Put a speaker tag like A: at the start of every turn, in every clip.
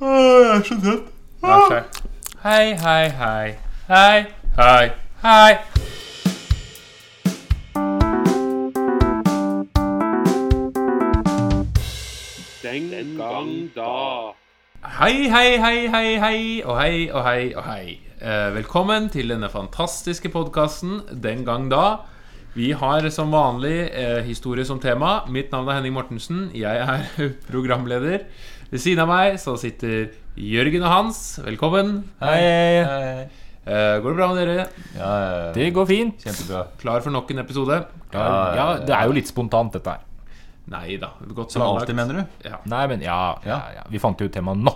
A: det er så søtt.
B: Hei, hei, hei. Hei, hei, hei.
C: Den gang da.
B: Hei, hei, hei, hei, hei, og hei, og hei, og hei. Eh, velkommen til denne fantastiske podkasten Den gang da. Vi har som vanlig eh, historie som tema. Mitt navn er Henning Mortensen. Jeg er programleder. Ved siden av meg så sitter Jørgen og Hans. Velkommen.
A: Hei.
B: Eh, går det bra med dere?
A: Ja,
D: Det går fint.
A: kjempebra.
B: Klar for nok en episode?
D: Ja, ja, det er jo litt spontant, dette her.
B: Nei da. Godt
A: Som
B: planlagt.
A: alltid, mener du?
B: Ja.
D: Nei, men ja,
A: Ja.
D: ja, ja. Vi fant jo ut temaet nå.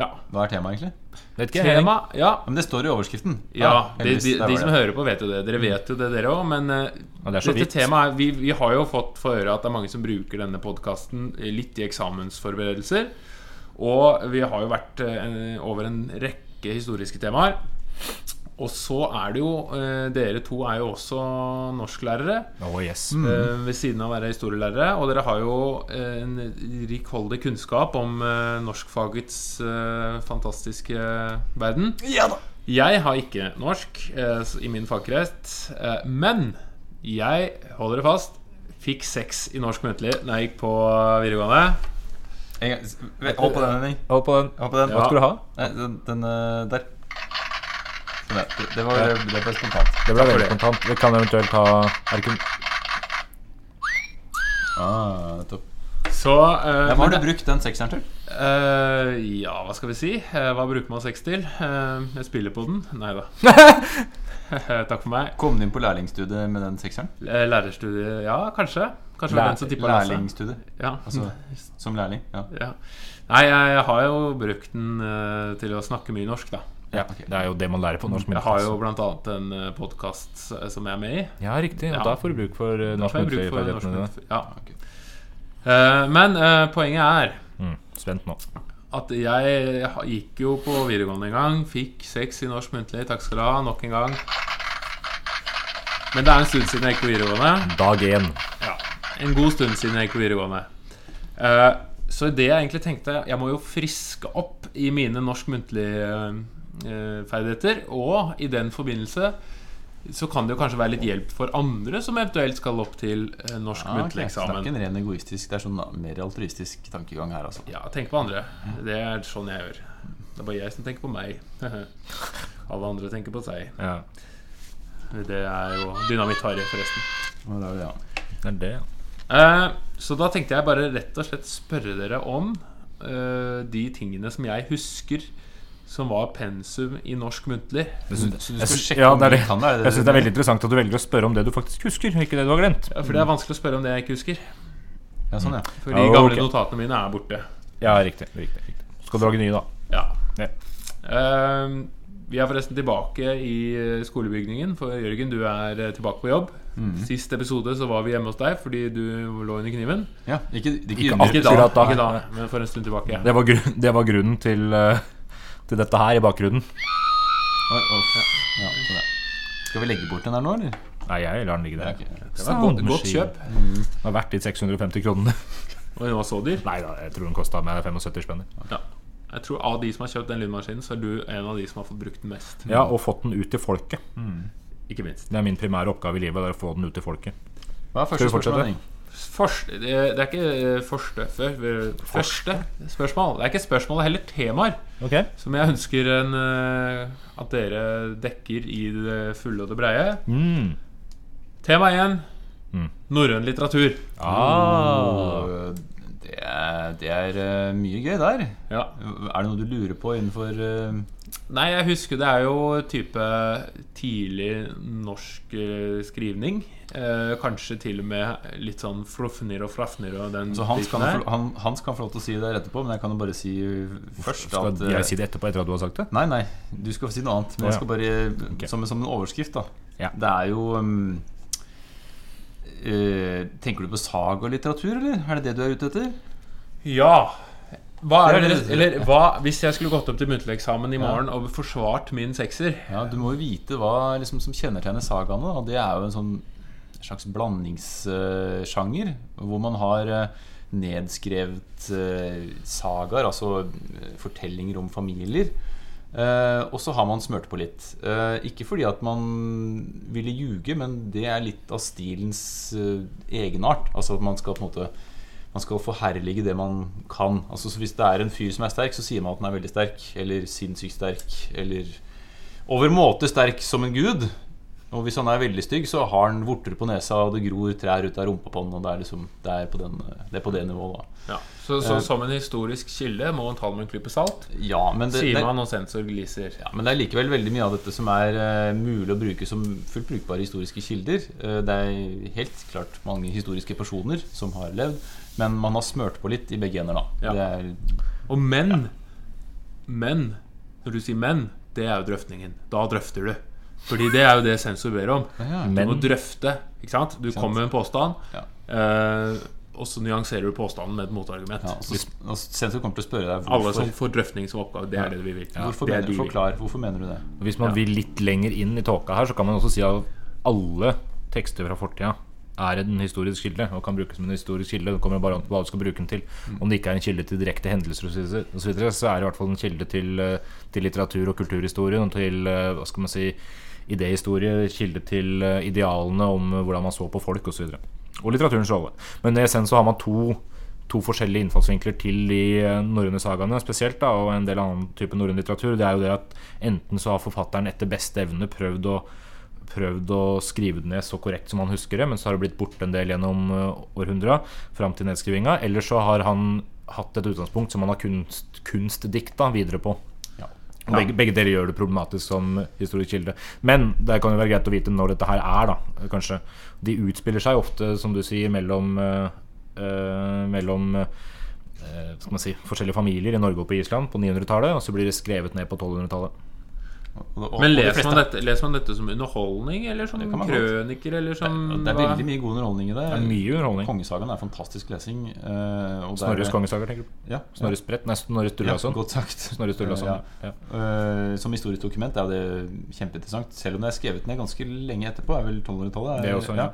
B: ja.
A: Hva er temaet, egentlig?
D: Vet ikke, Henning?
B: Tema? Ja.
A: Ja, men Det står i overskriften.
B: Ja,
A: Ah,
B: de,
A: heldigvis,
B: de,
A: der
B: de
A: var
B: som
A: det.
B: hører på, vet jo det. Dere vet jo det, dere òg. Men eh,
D: Ja, det er så
B: dette
D: vidt.
B: temaet er- vi, vi har jo fått for øre at det er mange som bruker denne podkasten litt i eksamensforberedelser. Og vi har jo vært eh, en- over en rekke historiske temaer. Og så er det jo eh, Dere to er jo også norsklærere.
D: Å, yes.
A: Mm.
B: eh, ved siden av å være historielærere. Og dere har jo eh, en rikholdig kunnskap om eh, norskfagets eh, fantastiske verden.
A: Ja da.
B: Jeg har ikke norsk eh, s- i min fagkrets, eh, men jeg holder det fast. Fikk seks i norsk muntlig da jeg gikk på videregående.
A: En gang- s- Hold på den, Henning.
D: Hold på den.
A: Hold på den.
D: Hva
B: Ja.
D: skulle du ha?
A: Nei, den, den eh, der. Sånn, ja. Det, det var det ble spontant.
D: Det ble veldig
B: det.
D: spontant. Vi kan eventuelt ha Er det ikke
A: Ah, nettopp.
B: Så eh,
A: Hva har du
B: men-
A: brukt den sekseren til?
B: Eh, ja, hva skal vi si? Eh, hva bruker man seks til? Eh, jeg spiller på den. Nei da. Takk for meg.
A: Kom du inn på lærlingstudiet med den sekseren?
B: Eh, Lærerstudiet, ja, kanskje. Kanskje det var
D: Lær-
B: den som tippa
A: Lærlingstudiet.
B: Ja. altså,
A: Altså som lærling. Ja.
B: ja. Nei, jeg har jo brukt den eh, til å snakke mye norsk, da.
D: Ja,
A: ok.
D: det er jo det man lærer på norsk
B: Jeg
D: muntlig.
B: har jo blant annet en podkast som jeg er med i.
D: Ja, riktig. Og
B: Ja.
D: da får du bruk for eh,
B: Da
D: norsk
B: får jeg bruk for norsk
D: muntlig-ferdighetene dine.
B: mynt. Ja.
A: Ok.
B: Eh, men eh, poenget er
D: Mm, spent nå.
B: at jeg ha- gikk jo på videregående en gang. Fikk seks i norsk muntlig. Takk skal du ha. Nok en gang. Men det er en stund siden jeg gikk på videregående.
D: Dag én.
B: Ja, En god stund siden jeg gikk på videregående. Eh, så det jeg egentlig tenkte Jeg må jo friske opp i mine norsk muntlige eh, ferdigheter. Og i den forbindelse så kan det jo kanskje være litt hjelp for andre som eventuelt skal opp til eh, norsk
A: Ah, ok.
B: muntlig
A: Så Det er
B: eksamen.
A: ikke en ren egoistisk, det er sånn mer altruistisk tankegang her, altså.
B: Ja, tenk på andre.
A: Mm.
B: Det er sånn jeg gjør. Det er bare jeg som tenker på meg. Alle andre tenker på seg.
D: Ja.
B: Det er jo dynamitt-Harry, forresten.
A: Ja, det er det, ja.
D: Det er det. ja.
B: Eh, så da tenkte jeg bare rett og slett spørre dere om eh, de tingene som jeg husker som var pensum i norsk muntlig.
A: Så, så du
D: Jeg
A: skal
D: sy-
A: sjekke
D: ja,
A: om
D: det er
A: du
D: det.
A: kan det? Er det,
D: Jeg
A: det
D: syns det er veldig interessant at du velger å spørre om det du faktisk husker, og ikke det du har glemt.
B: Ja, For det er vanskelig å spørre om det jeg ikke husker.
A: Ja, sånn, ja.
B: For de
D: Ja,
B: gamle
D: ok.
B: notatene mine er borte.
D: Ja, riktig. riktig, riktig. Skal du lage nye, da?
B: Ja.
D: Ja.
B: Eh, vi er forresten tilbake i eh, skolebygningen, for Jørgen, du er eh, tilbake på jobb.
D: Mm.
B: Sist episode så var vi hjemme hos deg fordi du lå under kniven.
A: ja. Ikke, ikke,
D: Ikke
A: under-
D: alt.
B: Ikke da,
D: Akkurat da.
B: ikke da men for en stund tilbake.
D: Det var, grunn, det var grunnen til, eh, til dette her i bakgrunnen.
A: Oi, oi, ja, sånn, ja. Skal vi legge bort den her nå, eller?
D: Nei, jeg lar den ligge
A: Ja,
D: der.
A: ok.
B: Det var et godt, godt
D: Soundmachine.
B: kjøp.
A: Mm.
D: Den har vært litt 650 kroner.
B: Og den var så dyr.
D: Nei da, jeg tror den kosta meg 75 spenner.
B: Ja. Jeg tror Av de som har kjøpt den lydmaskinen, så er du en av de som har fått brukt den mest.
D: Ja, og fått den ut til folket.
B: Ikke minst.
D: Det er min primære oppgave i livet. Det er å få den ut til folket.
A: Hva er
D: Skal
A: første
D: vi fortsette?
A: spørsmål? Henning?
B: Først- det det er ikke eh, første, før, første spørsmål. Det er ikke spørsmål, det er heller temaer
D: Ok
B: som jeg ønsker en, eh, at dere dekker i det fulle og det breie.
D: mm.
B: Tema én
D: Mm.
B: norrøn litteratur.
D: ah.
A: Og, Det er, det er eh, mye gøy der.
B: Ja.
A: Er det noe du lurer på innenfor eh,
B: Nei, jeg husker det er jo type tidlig norsk eh, skrivning. Eh, kanskje til og med litt sånn fluffner og flaffner og den
A: Så Hans
B: biten
A: kan,
B: der.
A: få- han, Hans kan få lov til å si det etterpå, men jeg kan jo bare si først
D: Skal
A: at eh,
D: jeg si det etterpå, etter at du har sagt det?
A: Nei, nei, du skal få si noe annet. Men jeg skal bare
D: Ok.
A: som, som en overskrift, da.
D: Ja.
A: Det er jo um, eh, Tenker du på sagalitteratur, eller? Er det det du er ute etter?
B: Ja. Hva er
A: Det
B: det,
A: er det-
B: eller hva, hvis jeg skulle gått opp til muntlig eksamen i morgen og forsvart min sekser
A: Ja, Du må jo vite hva liksom, som kjennetegner sagaene. da. Det er jo en sånn slags blandingssjanger hvor man har eh, nedskrevet eh, sagaer, altså eh, fortellinger om familier. Eh, og så har man smørt på litt. Eh, ikke fordi at man ville ljuge, men det er litt av stilens eh, egenart. Altså at man skal på en måte man skal forherlige det man kan. Altså så Hvis det er en fyr som er sterk, så sier man at han er veldig sterk. Eller sinnssykt sterk. Eller overmåte sterk som en gud. Og hvis han er veldig stygg, så har han vorter på nesa, og det gror trær ut av rumpa på han. Og det er liksom Det er på, den, det, er på det nivået, da.
B: Ja. Så, så som en historisk kilde må en ta det med en klype salt,
A: Ja, men det,
B: sier
A: det,
B: man, og sensor gliser.
A: ja, men det er likevel veldig mye av dette som er eh, mulig å bruke som fullt brukbare historiske kilder. Eh, det er helt klart mange historiske personer som har levd, men man har smørt på litt i begge ender, da.
B: Ja.
A: Det er
B: Og men Men Når du sier men, det er jo drøftingen. Da drøfter du. Fordi det er jo det sensor ber om. Du må
D: Men
B: drøfte. Ikke sant? Du kommer med en påstand,
A: Ja.
B: eh, og så nyanserer du påstanden med et motargument.
A: Ja, og så, og altså, sensor kommer til å spørre deg
B: Alle
A: hvorfor,
B: som får drøftning som oppgave, det er det vi vil.
A: hvorfor,
B: det er
A: mener,
B: de vi vil.
A: forklar, hvorfor mener du det.
D: hvis man vil litt lenger inn i tåka her, så kan man også si at alle tekster fra fortida er en historisk kilde og kan brukes som en historisk kilde. Det kommer bare an på hva du skal bruke den til. Om det ikke er en kilde til direkte hendelser osv., så, videre, så er det i hvert fall en kilde til, eh, til litteratur- og kulturhistorie og til eh, hva skal man si, idéhistorie, kilde til eh, idealene om eh, hvordan man så på folk osv. Og, så videre. og litteraturens rolle. Men i essens så har man to to forskjellige innfallsvinkler til de eh, norrøne sagaene spesielt, da, og en del annen type norrøn litteratur, det er jo det at enten så har forfatteren etter beste evne prøvd å, prøvd å skrive det ned så korrekt som han husker det, men så har det blitt borte en del gjennom eh, århundra fram til nedskrivinga, eller så har han hatt et utgangspunkt som han har kunst, kunstdikta videre på. Og Begge, begge deler gjør det problematisk som historisk kilde. Men det kan jo være greit å vite når dette her er, da, kanskje. De utspiller seg ofte, som du sier, mellom eh, eh, Mellom eh, hva skal man si, forskjellige familier i Norge og på Island på 900-tallet, og så blir det skrevet ned på 1200-tallet.
A: Og- og-
B: Men
A: og de
B: leser man,
A: fleste-
B: dette, leser man dette som underholdning, eller som
A: Det kan man godt.
B: krøniker, eller som
A: Det er
B: hva?
A: veldig mye god underholdning i det.
D: Det er mye underholdning.
A: Kongesagaen er fantastisk lesing. eh, og det er-
D: Snorres kongesager, tenker du.
A: Ja,
D: Snorres Brett, nei,
A: ja,
D: Snorres Sturlason.
A: godt sagt.
D: Snorre Sturlason,
A: Eh,
D: ja.
A: Eh, som historisk dokument er det kjempeinteressant. Selv om det er skrevet ned ganske lenge etterpå. Er vel 1200-tallet. er-
D: Det også, ja.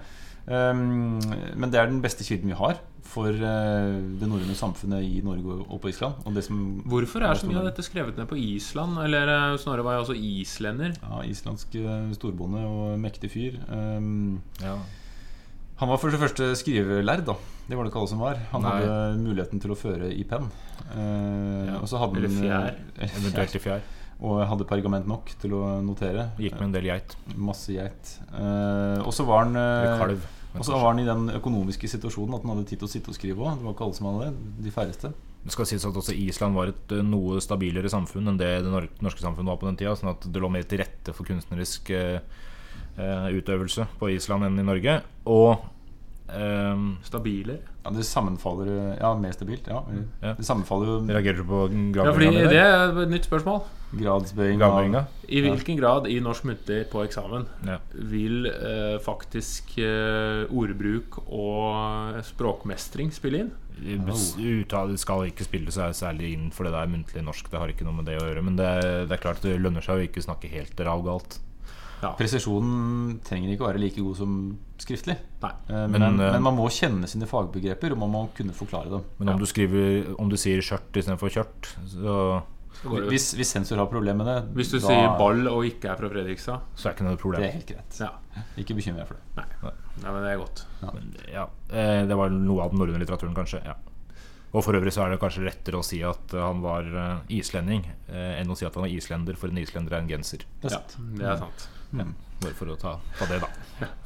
A: Um, men det er den beste kilden vi har for eh, det norrøne samfunnet i Norge og på Island. Og det som
B: Hvorfor er så mye av dette skrevet ned på Island? Eller eh, Snorre var jo også islender.
A: Ja, islandsk eh, storbonde og mektig fyr. Um,
D: Ja.
A: Han var for det første skrivelærd, da. Det var det ikke alle som var. Han
D: Nei.
A: hadde muligheten til å føre i penn. Eh,
D: Ja,
A: og så hadde
B: eller
A: han, eh,
D: Eventuelt i fjær.
A: Og hadde pergament nok til å notere.
D: Gikk med en del geit.
A: Masse geit. Eh, og så var han
D: Eller
A: eh,
D: kalv.
A: Og så var han i den økonomiske situasjonen at han hadde tid til å sitte og skrive òg. Det var ikke alle som hadde det. De færreste.
D: Det skal sies at også Island var et eh, noe stabilere samfunn enn det det nor- norske samfunnet var på den tida. Sånn at det lå mer til rette for kunstnerisk eh, eh, utøvelse på Island enn i Norge. Og ehm,
B: Stabiler.
A: Ja, det sammenfaller eh, Ja, mer stabilt. Ja.
D: Mm. Ja.
A: Det sammenfaller jo
D: reagerer du på
B: Ja, fordi
D: gravbøyinga?
B: det
D: Ja,
B: er et nytt spørsmål.
A: gradsbøying
D: gravbøyinga?
B: I hvilken grad i norsk muntlig på eksamen
D: Ja.
B: vil eh, faktisk eh, ordbruk og eh, språkmestring spille inn?
D: Bes- Uttale skal ikke spille seg særlig inn for det der muntlig norsk. Det har ikke noe med det å gjøre. Men det er, det er klart det lønner seg å ikke snakke helt ravgalt.
A: Presisjonen trenger ikke å være like god som skriftlig.
B: Nei.
A: Eh, Men,
D: Men,
A: men,
D: eh,
A: man må kjenne sine fagbegreper, og man må kunne forklare dem.
D: Men om, du, skriver, om du sier skjørt istedenfor kjørt, så,
A: Hvis, hvis sensor har problemer med det,
B: Hvis du
A: da-
B: sier ball og ikke er fra Fredrikstad.
D: så er ikke det noe problem.
A: Det er helt greit.
B: Ja.
A: Ikke bekymre deg for det.
B: Nei, men det er godt.
D: Ja, eh, Det var noe av den norrøne litteraturen, kanskje. ja Og for øvrig så er det kanskje rettere å si at eh, han var eh, islending eh, enn å si at han var islender, for en islender er en genser.
A: Det er
B: Ja,
A: sant.
B: det er sant.
D: Bare for å ta, ta det, da.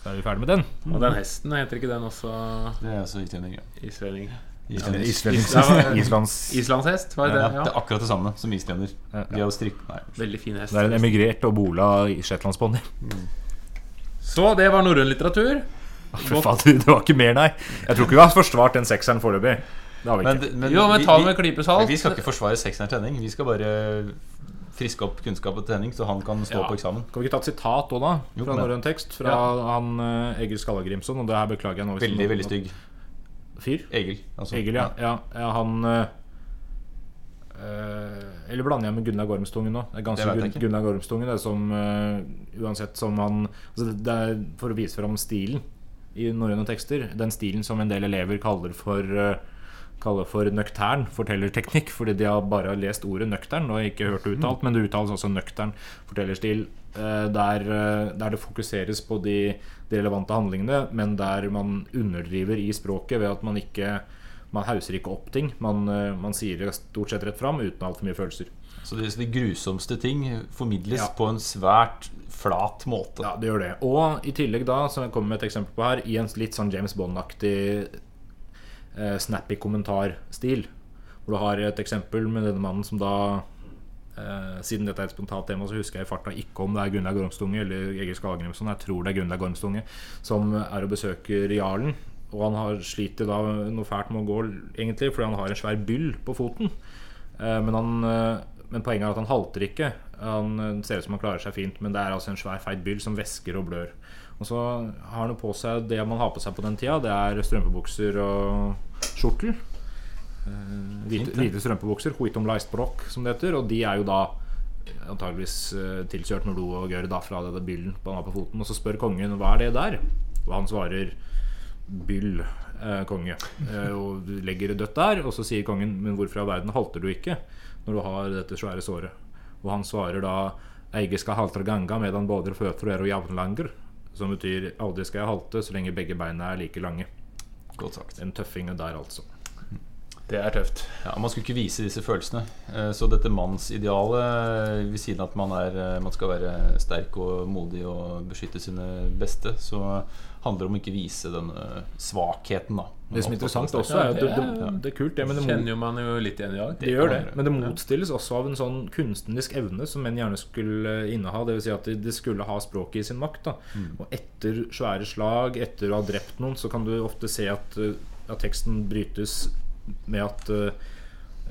D: Så er vi ferdig med den.
A: Mm.
B: Og den hesten, heter ikke den også
A: Det er også islending. ja.
B: islending?
A: Islending.
B: Island-
D: Islands
B: Islandshest, var det
A: Ja,
B: det?
A: det er akkurat det samme som islender.
D: Ja, ja.
A: De har jo strikk... Nei.
B: Veldig fin hest.
D: Det er en emigrert og bola i shetlandsbonny.
B: Så det var norrøn litteratur.
D: Fy fader, det var ikke mer, nei. Jeg tror ikke vi har forsvart den sekseren foreløpig. Det har vi ikke.
B: Jo, men
A: vi- vi-
B: ta det med klype salt.
A: men Vi skal ikke forsvare sekseren trening. Vi skal bare friske opp kunnskap og trening, så han kan stå
B: Ja.
A: på eksamen.
D: Kan vi ikke ta et sitat òg, da?
A: Jo,
D: Fra
A: men-
D: norrøn tekst. Fra han eh, Egil Skallagrimson. Og det her beklager jeg nå. hvis
A: Veldig,
D: noen-
A: veldig stygg.
D: Fyr?
A: Egil. Altså.
D: Egil, ja. ja. ja han eh, eh, Eller blander jeg med Gunnar Gormstungen nå? Det er ganske
A: Det vet jeg
D: Gun
A: ikke.
D: Gunnar Gormstungen, det som eh, Uansett som han altså det, det er For å vise fram stilen i norrøne tekster. Den stilen som en del elever kaller for eh, kaller for nøktern fortellerteknikk, fordi de har bare lest ordet nøktern og ikke hørt det uttalt, men det uttales altså nøktern fortellerstil, eh, der, eh, der det fokuseres på de, de relevante handlingene, men der man underdriver i språket ved at man ikke man hauser ikke opp ting. Man, eh, man sier det stort sett rett fram uten altfor mye følelser.
A: Så de, så de grusomste ting formidles
D: Ja.
A: på en svært flat måte.
D: Ja, det gjør det. Og i tillegg, da, som jeg kommer med et eksempel på her, i en litt sånn James Bond-aktig eh, snappy kommentarstil. Hvor du har et eksempel med denne mannen som da eh, Siden dette er et spontant tema, så husker jeg i farta ikke om det er Gunnlaug Gormstunge eller Egil Skagrimsson. Jeg tror det er Gunnlaug Gormstunge som er og besøker jarlen. Og han har sliter da noe fælt med å gå, egentlig, fordi han har en svær byll på foten. Eh, Men, han, eh, men poenget er at han halter ikke. Han eh, ser ut som han klarer seg fint, men det er altså en svær feit byll som væsker og blør. Og så har han jo på seg det man har på seg på den tida, det er strømpebukser og skjortel. Eh,
A: Fint,
D: Hvite,
A: det.
D: hvite strømpebukser, huitom leistbrokk, som det heter. Og de er jo da antageligvis eh, tilkjørt med blod og gørr da fra denne byllen han har på foten. Og så spør kongen hva er det der? Og han svarer byll, eh, konge. Eh, og du legger det dødt der, og så sier kongen, men hvorfor i all verden halter du ikke når du har dette svære såret? Og han svarer da, eige skal halter ganga medan både føtter er og jevnlanger, som betyr aldri skal jeg halte så lenge begge beina er like lange.
A: Godt sagt.
D: En tøffing der, altså.
B: Det er tøft.
A: Ja, man skulle ikke vise disse følelsene. Eh, Så dette mannsidealet, ved siden av at man, er, eh, man skal være sterk og modig og beskytte sine beste, så handler det om å ikke vise denne svakheten, da.
D: Det som er interessant også,
B: Ja,
D: er jo
B: det
D: det, det, det, er kult, det, men det,
B: Kjenner
D: mot,
B: jo man jo litt igjen i dag.
D: det gjør det. Men det motstilles også av en sånn kunstnerisk evne som menn gjerne skulle inneha. Dvs. Si at de- de skulle ha språket i sin makt. Da.
B: Mm.
D: Og etter svære slag, etter å ha drept noen, så kan du ofte se at, eh, at teksten brytes med at eh,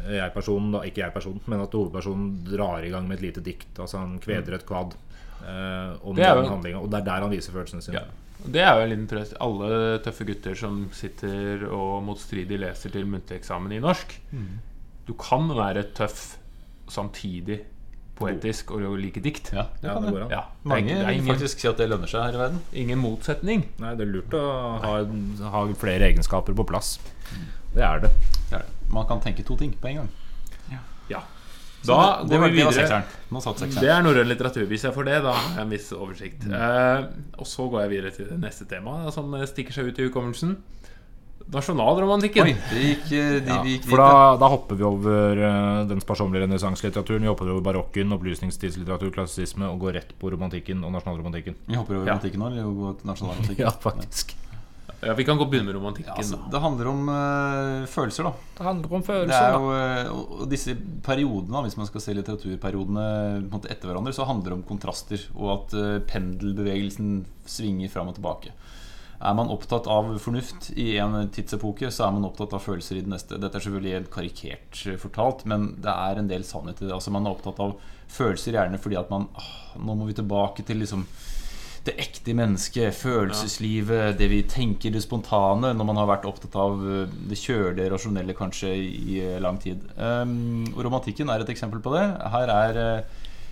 D: jeg-personen, da, ikke jeg-personen, men at hovedpersonen drar i gang med et lite dikt. Altså han kveder et kvad eh, om
B: Mm. Det er
D: den
B: jo-
D: handlinga. Og det er der han viser følelsene sine.
B: Ja. Og Det er jo en liten trøst. Alle tøffe gutter som sitter og motstridig leser til muntlig eksamen i norsk. Du kan være tøff samtidig poetisk og like dikt.
A: Ja, det
D: Ja,
A: kan
D: det
A: det.
D: går an.
B: Ja, det er,
A: Mange
B: ikke- det er
A: vil
B: ingen,
A: faktisk si at det lønner seg her i verden.
B: ingen motsetning.
D: Nei, det er lurt å ha, ha flere egenskaper på plass.
B: Mm.
D: Det er det.
A: Det er det. Man kan tenke to ting på en gang.
B: Da
A: Så det
B: går
A: var-
B: vi
A: det var
B: videre.
A: sekseren. Nå satt
B: Det
A: sekseren.
B: er norrøn litteratur. Hvis jeg får det, da har jeg en viss oversikt.
D: Mm.
B: Eh, og så går jeg videre til det neste tema som eh, stikker seg ut i hukommelsen. Nasjonalromantikken.
A: Oi, det gikk, eh, de, vi gikk
D: For
A: dit,
D: da, da hopper vi over eh, den sparsommelige renessanselitteraturen. Vi hopper over barokken, opplysningstidslitteratur, klassisisme og går rett på romantikken og nasjonalromantikken.
A: Vi hopper over
B: Ja.
A: romantikken nå, eller går til nasjonalmusikken?
D: faktisk.
B: Ja, vi kan godt begynne med romantikken.
A: Ja, altså,
B: da.
A: det handler om eh, følelser, da.
D: Det handler om
A: Det er
D: følelser, da.
A: jo, eh, og- og disse periodene, da, hvis man skal se litteraturperiodene på en måte etter hverandre, så handler det om kontraster, og at eh, pendelbevegelsen svinger fram og tilbake. Er man opptatt av fornuft i en tidsepoke, så er man opptatt av følelser i den neste. Dette er selvfølgelig helt karikert eh, fortalt, men det er en del sannhet i det. Altså, man er opptatt av følelser gjerne fordi at man «Åh, Nå må vi tilbake til liksom det ekte mennesket, følelseslivet, det vi tenker, det spontane, når man har vært opptatt av eh, det kjølige, rasjonelle kanskje i eh, lang tid. Um, og romantikken er et eksempel på det. Her er eh,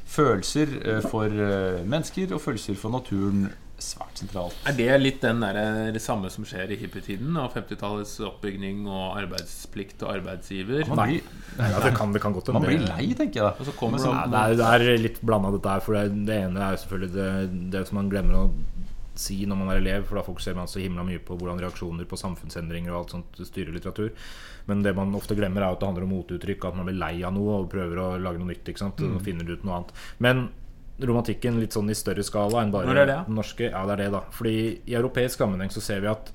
A: følelser eh, for eh, mennesker og følelser for naturen svært sentralt.
B: Er det litt den der, eh, det samme som skjer i hippietiden? Og 50-tallets oppbygning og arbeidsplikt og arbeidsgiver?
A: Man blir,
D: Ja, det, kan, det kan godt
A: man
D: hende.
A: blir
D: det-
A: lei, tenker jeg.
B: Og
A: da.
B: så
A: Men
B: kommer det
A: så-
B: opp
D: Ja,
B: noe-
D: det, er, det er litt blanda, dette her. For det, er- det ene er jo selvfølgelig det, det som man glemmer å si når man er elev, for da fokuserer man så himla mye på hvordan reaksjoner på samfunnsendringer og alt sånt styrer litteratur. Men det man ofte glemmer, er at det handler om motuttrykk, at man blir lei av noe og prøver å lage noe nytt. ikke
B: Mm.
D: sant? Og finner ut noe annet. Men romantikken litt sånn i større skala enn bare
B: Når er det?
D: den norske. Ja, det er det, da. Fordi i europeisk sammenheng så ser vi at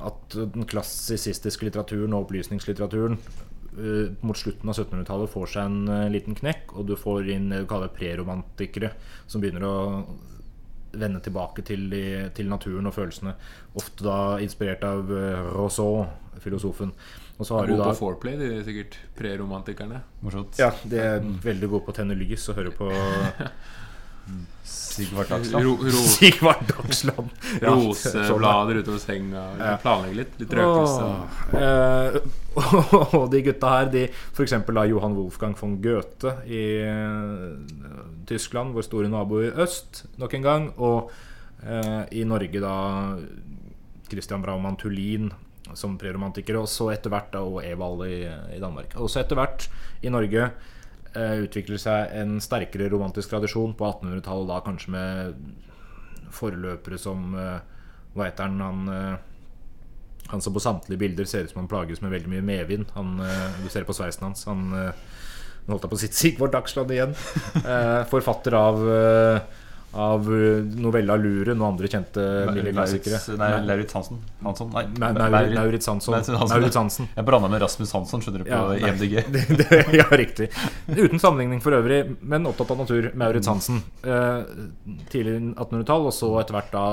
D: at den klassisistiske litteraturen og opplysningslitteraturen eh, mot slutten av 1700-tallet får seg en eh, liten knekk, og du får inn det du kaller preromantikere, som begynner å vende tilbake til, de, til naturen og følelsene. Ofte da inspirert av eh, Rousseau, filosofen. Og så har du
B: Gode
D: da
B: på foreplay, de er sikkert preromantikerne.
A: Morsomt.
D: ja, De er veldig gode på å tenne lys og høre på
A: Sigvart Dagsland.
B: Ro, ro,
D: Sigvard Dagsland. Altså, Ja, sånn da.
B: roseblader utover senga,
D: Ja.
B: planlegge litt. Litt røkelse.
D: Åh, eh, og de gutta her, de f.eks. Johan Wolfgang von Goethe i eh, Tyskland, vår store nabo i øst, nok en gang. Og eh, i Norge, da Christian Braumann Tullin som preromantikere, og så etter hvert da, og Evald i, i Danmark. Og så etter hvert i Norge eh, utvikler seg en sterkere romantisk tradisjon på 1800-tallet, da kanskje med forløpere som eh, Hva heter han? Han, eh, han som på samtlige bilder ser ut som han plages med veldig mye medvind. Han, eh, du ser på sveisen hans. Han eh, nå holdt jeg på å si Sigvard Dagsland igjen. Eh, forfatter av eh, av eh, novella 'Luren' og andre kjente miljøklassikere.
A: Lauritz- Nei, Lauritz Hansen. Hansson? Nei,
D: Nei, Nau- Lauritz Hansson. Lauritz Hansen.
A: Jeg blanda med Rasmus Hansson, skjønner du, på E
D: Ja, nei.
A: EMDG.
D: det, det, ja, riktig. Uten sammenligning for øvrig, men opptatt av natur.
A: Mm.
D: Maurits Hansen. Eh, tidlig 1800-tall, og så etter hvert da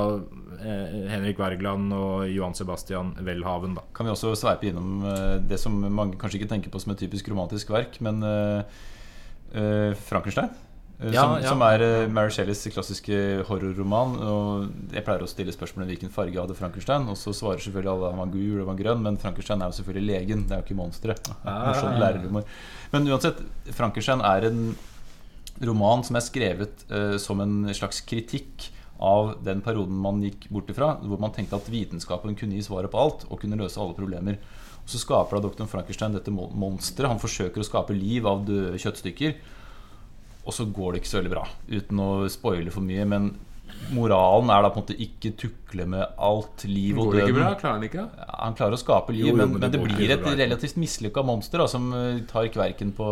D: eh, Henrik Wergeland og Johan Sebastian Welhaven. Da.
A: Kan vi også sveipe innom eh, det som mange kanskje ikke tenker på som et typisk romantisk verk, men eh, eh, Frankenstein? eh,
D: Ja,
A: som,
D: ja.
A: som er eh, Mary Shelleys klassiske horrorroman. Og jeg pleier å stille spørsmålet hvilken farge hadde Frankenstein. Og så svarer selvfølgelig alle at han var gul og han var grønn, men Frankenstein er jo selvfølgelig legen. Det er jo ikke monsteret. Morsom lærerhumor. Men uansett, Frankenstein er en roman som er skrevet eh, som en slags kritikk av den perioden man gikk bort ifra, hvor man tenkte at vitenskapen kunne gi svaret på alt og kunne løse alle problemer. Og så skaper da doktor Frankenstein dette mon- monsteret. Han forsøker å skape liv av døde kjøttstykker. Og så går det ikke så veldig bra, uten å spoile for mye. Men moralen er da på en måte ikke tukle med alt liv og
B: Går det ikke
A: døden.
B: bra? Klarer han ikke? det?
A: Han klarer å skape liv,
D: Jo, jo,
A: men,
D: men
A: men det
D: det går
A: blir
D: ikke
A: et
D: så bra.
A: relativt mislykka monster da, som eh, tar kverken på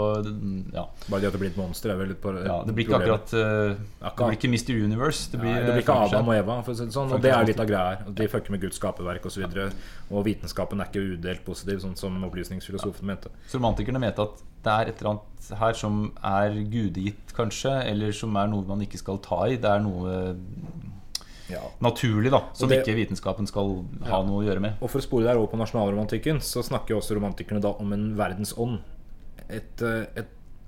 A: ja,
D: Bare det at det blir et monster, er vel litt på
A: ja, Det blir ikke akkurat eh, Det
D: Akkurat.
A: blir ikke Mr. Universe. Det
D: Nei,
A: blir,
D: det blir ikke
A: eh,
D: Adam og Eva, for å si det sånn. Og det er jo litt av greia her. De fucker med Guds skaperverk osv. videre og vitenskapen er ikke udelt positiv, sånn som opplysningsfilosofen mente.
A: Så romantikerne mente at det er et eller annet her som er gudegitt, kanskje, eller som er noe man ikke skal ta i. Det er noe eh,
D: Ja.
A: naturlig, da, som
D: det-
A: ikke vitenskapen skal ha noe å gjøre med.
D: Og for å spore deg over på nasjonalromantikken, så snakker jo også romantikerne da om en verdensånd. Et, eh, et,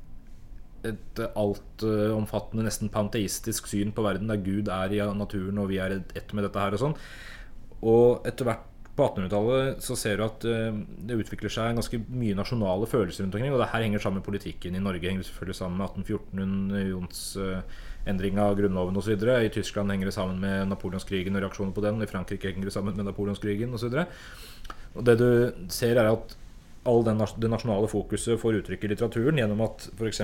D: et eh, altomfattende, nesten panteistisk syn på verden, der Gud er i naturen, og vi er ett med dette her og sånn. Og etter hvert på 1800-tallet så ser du at eh, det utvikler seg ganske mye nasjonale følelser rundt omkring. Og det her henger sammen med politikken i Norge. henger selvfølgelig sammen med 1814, under Jons eh, endring av grunnloven osv. I Tyskland henger det sammen med napoleonskrigen og reaksjonen på den. og I Frankrike henger det sammen med napoleonskrigen osv. Og det du ser, er at all den, nas- det nasjonale fokuset får uttrykk i litteraturen gjennom at f.eks.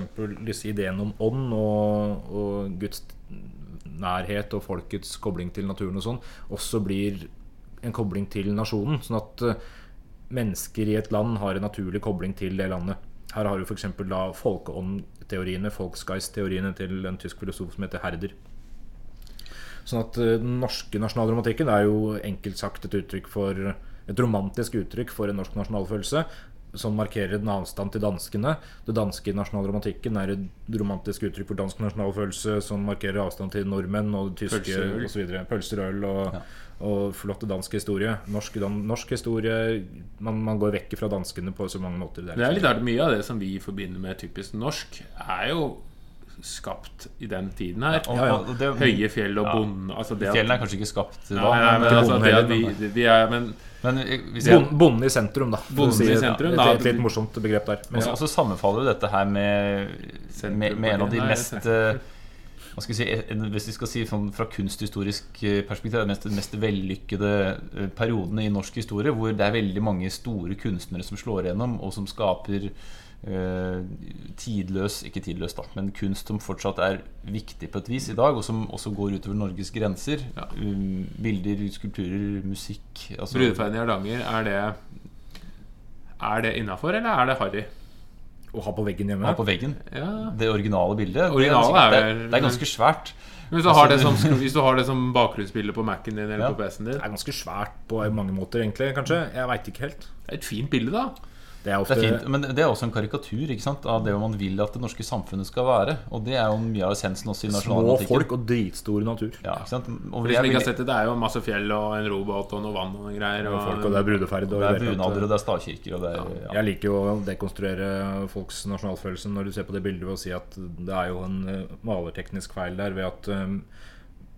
D: disse ideene om ånd og, og Guds nærhet og folkets kobling til naturen og sånn, også blir en kobling til nasjonen. Sånn at eh, mennesker i et land har en naturlig kobling til det landet. Her har du f.eks. da folkeåndteoriene, Volksgeist-teoriene til en tysk filosof som heter Herder. Sånn at eh, den norske nasjonalromantikken er jo enkelt sagt et uttrykk for et romantisk uttrykk for en norsk nasjonalfølelse som markerer en avstand til danskene. Det danske i nasjonalromantikken er et romantisk uttrykk for dansk nasjonalfølelse som markerer avstand til nordmenn og
B: Pølser
D: tyske
B: og øl.
D: og så videre. Pølser og øl og, og flotte dansk historie. Norsk, dan, norsk historie man, man går vekk fra danskene på så mange måter.
B: Det er litt rart. Mye av det som vi forbinder med typisk norsk, er jo skapt i den tiden her.
A: Og-
D: Ja, ja.
A: og det-
B: Høye fjell og bonde altså det at-
A: Fjellene er kanskje ikke skapt da,
B: Nei, nei, men,
A: men,
B: altså, det at
A: men,
B: vi, vi er, men
D: altså-
A: eh, hvis jeg,
D: liksom Bon- Bonden i sentrum, da. for å
B: Bonden i
D: et-
B: sentrum,
D: et,
B: da.
D: et litt morsomt begrep der. Men
A: Og så-
D: ja.
A: Og så sammenfaller jo dette her med, med, med en av de
B: Nei,
A: mest
B: jeg
A: eh, hva skal vi si, en, Hvis vi skal si sånn fra kunsthistorisk eh, perspektiv, den mest, den mest vellykkede eh, periodene i norsk historie, hvor det er veldig mange store kunstnere som slår igjennom, og som skaper eh, tidløs Ikke tidløs, da, men kunst som fortsatt er viktig på et vis i dag, og som også går utover Norges grenser.
B: Ja.
A: Um, bilder, skulpturer, musikk altså-
B: Brudeferden i Hardanger, er det Er det innafor, eller er det harry?
D: Å ha på veggen hjemme.
A: Ja, på veggen.
B: Ja.
A: Det originale bildet. det er
B: Originale
A: ganske-
B: er
A: det, er,
B: vel-
A: det er ganske svært.
B: Hvis du, har det som, hvis du har det som bakgrunnsbilde på Mac-en din eller
A: Ja.
B: på PC-en din.
D: Det er ganske svært på mange måter, egentlig. kanskje Jeg veit ikke helt.
B: Det er et fint bilde, da.
D: Det er
A: Det
D: ofte
A: er fint, Men det er også en karikatur ikke sant? av det man vil at det norske samfunnet skal være. Og det er jo mye av essensen også i
D: små
A: nasjonalromantikken.
D: folk og dritstor natur.
A: Ja, ikke sant? Og
B: For
A: det
B: de som
A: er,
B: ikke har
A: veldig-
B: sett det, det er jo masse fjell og en robåt og noe vann og noen greier.
D: Og
B: Og,
D: folk, og det er brudeferd. Og
A: det
D: i
A: er
D: det hele tatt.
A: bunader, og det er stavkirker, og det er ja.
D: Jeg liker jo å dekonstruere folks nasjonalfølelse når du ser på det bildet ved å si at det er jo en eh, malerteknisk feil der ved at eh,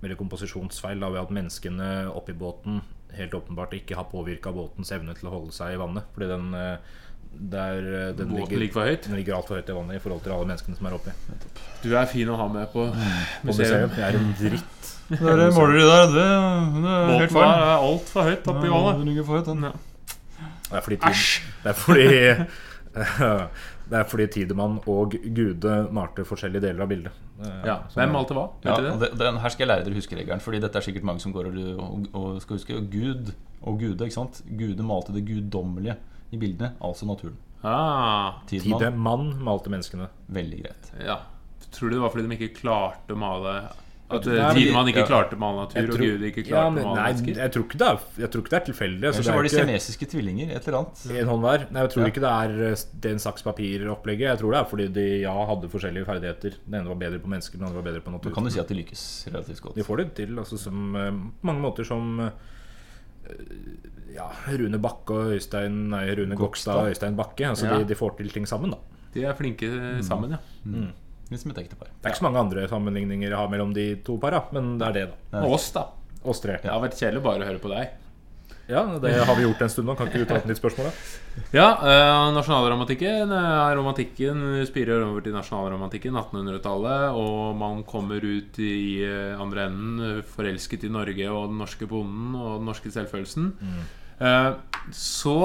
D: Eller komposisjonsfeil da, ved at menneskene oppi båten helt åpenbart ikke har påvirka båtens evne til å holde seg i vannet. Fordi den, eh, der, eh, den
B: Båten ligger for høyt?
D: Den ligger altfor høyt i vannet i forhold til alle menneskene som er oppi. På
B: Du er fin å ha med på museum.
D: museum. Det er en dritt.
A: Det måler du der, det, det
B: Båten der er altfor høyt oppi vannet.
A: ligger for høyt, den.
D: Det er fordi tid- Det er fordi Det er fordi Tidemann og Gude malte forskjellige deler av bildet. Eh,
B: Ja. Hvem malte hva?
A: Ja,
B: Vet du
A: og
B: det?
A: det- den her skal jeg lære dere huskeregelen, Fordi dette er sikkert mange som går og, og, og skal huske. Og Gud og Gude, ikke sant? Gude malte det guddommelige i bildene, altså naturen.
B: Ah,
A: Tidemann,
D: Tidemann malte menneskene.
A: veldig greit.
B: ja. Tror du det var fordi de ikke klarte å male At eh,
D: Nei, men de-
B: tiden man ikke
D: ja.
B: klarte å male natur, og Gud ikke klarte
D: Ja,
B: å
D: men-
B: male
D: nei,
B: mennesker?
D: jeg tror ikke det er, jeg tror ikke det er tilfeldig. altså,
A: Ellers
D: det
A: så
D: er
A: var det
D: ikke-
A: siamesiske tvillinger, et eller annet.
D: En hånd hver? Nei, jeg tror ikke det er eh, den saks papir-opplegget. Jeg tror det er fordi de ja, hadde forskjellige ferdigheter. Den ene var bedre på mennesker, den andre var bedre på
A: Du kan jo
D: natur.
A: si at de lykkes relativt godt.
D: De får det til altså, som, eh, på mange måter som eh, ja, Rune Bakke og Øystein Nei, Rune Gokstad og Øystein Bakke. Altså,
B: Ja.
D: de, de får til ting sammen, da.
B: De er flinke
D: Mm.
B: sammen, ja.
A: Litt som et ektepar.
D: Det er ikke så mange andre sammenligninger jeg har mellom de to para, men det er det, da.
B: Og oss, da.
D: Oss tre.
B: Det har vært kjedelig bare å høre på deg.
D: Ja, det har vi gjort en stund nå. Kan ikke du ta et nytt spørsmål, da?
B: Ja, eh, nasjonalromantikken eh, romantikken spirer over til nasjonalromantikken, 1800-tallet, og man kommer ut i eh, andre enden eh, forelsket i Norge og den norske bonden og den norske selvfølelsen. Eh, så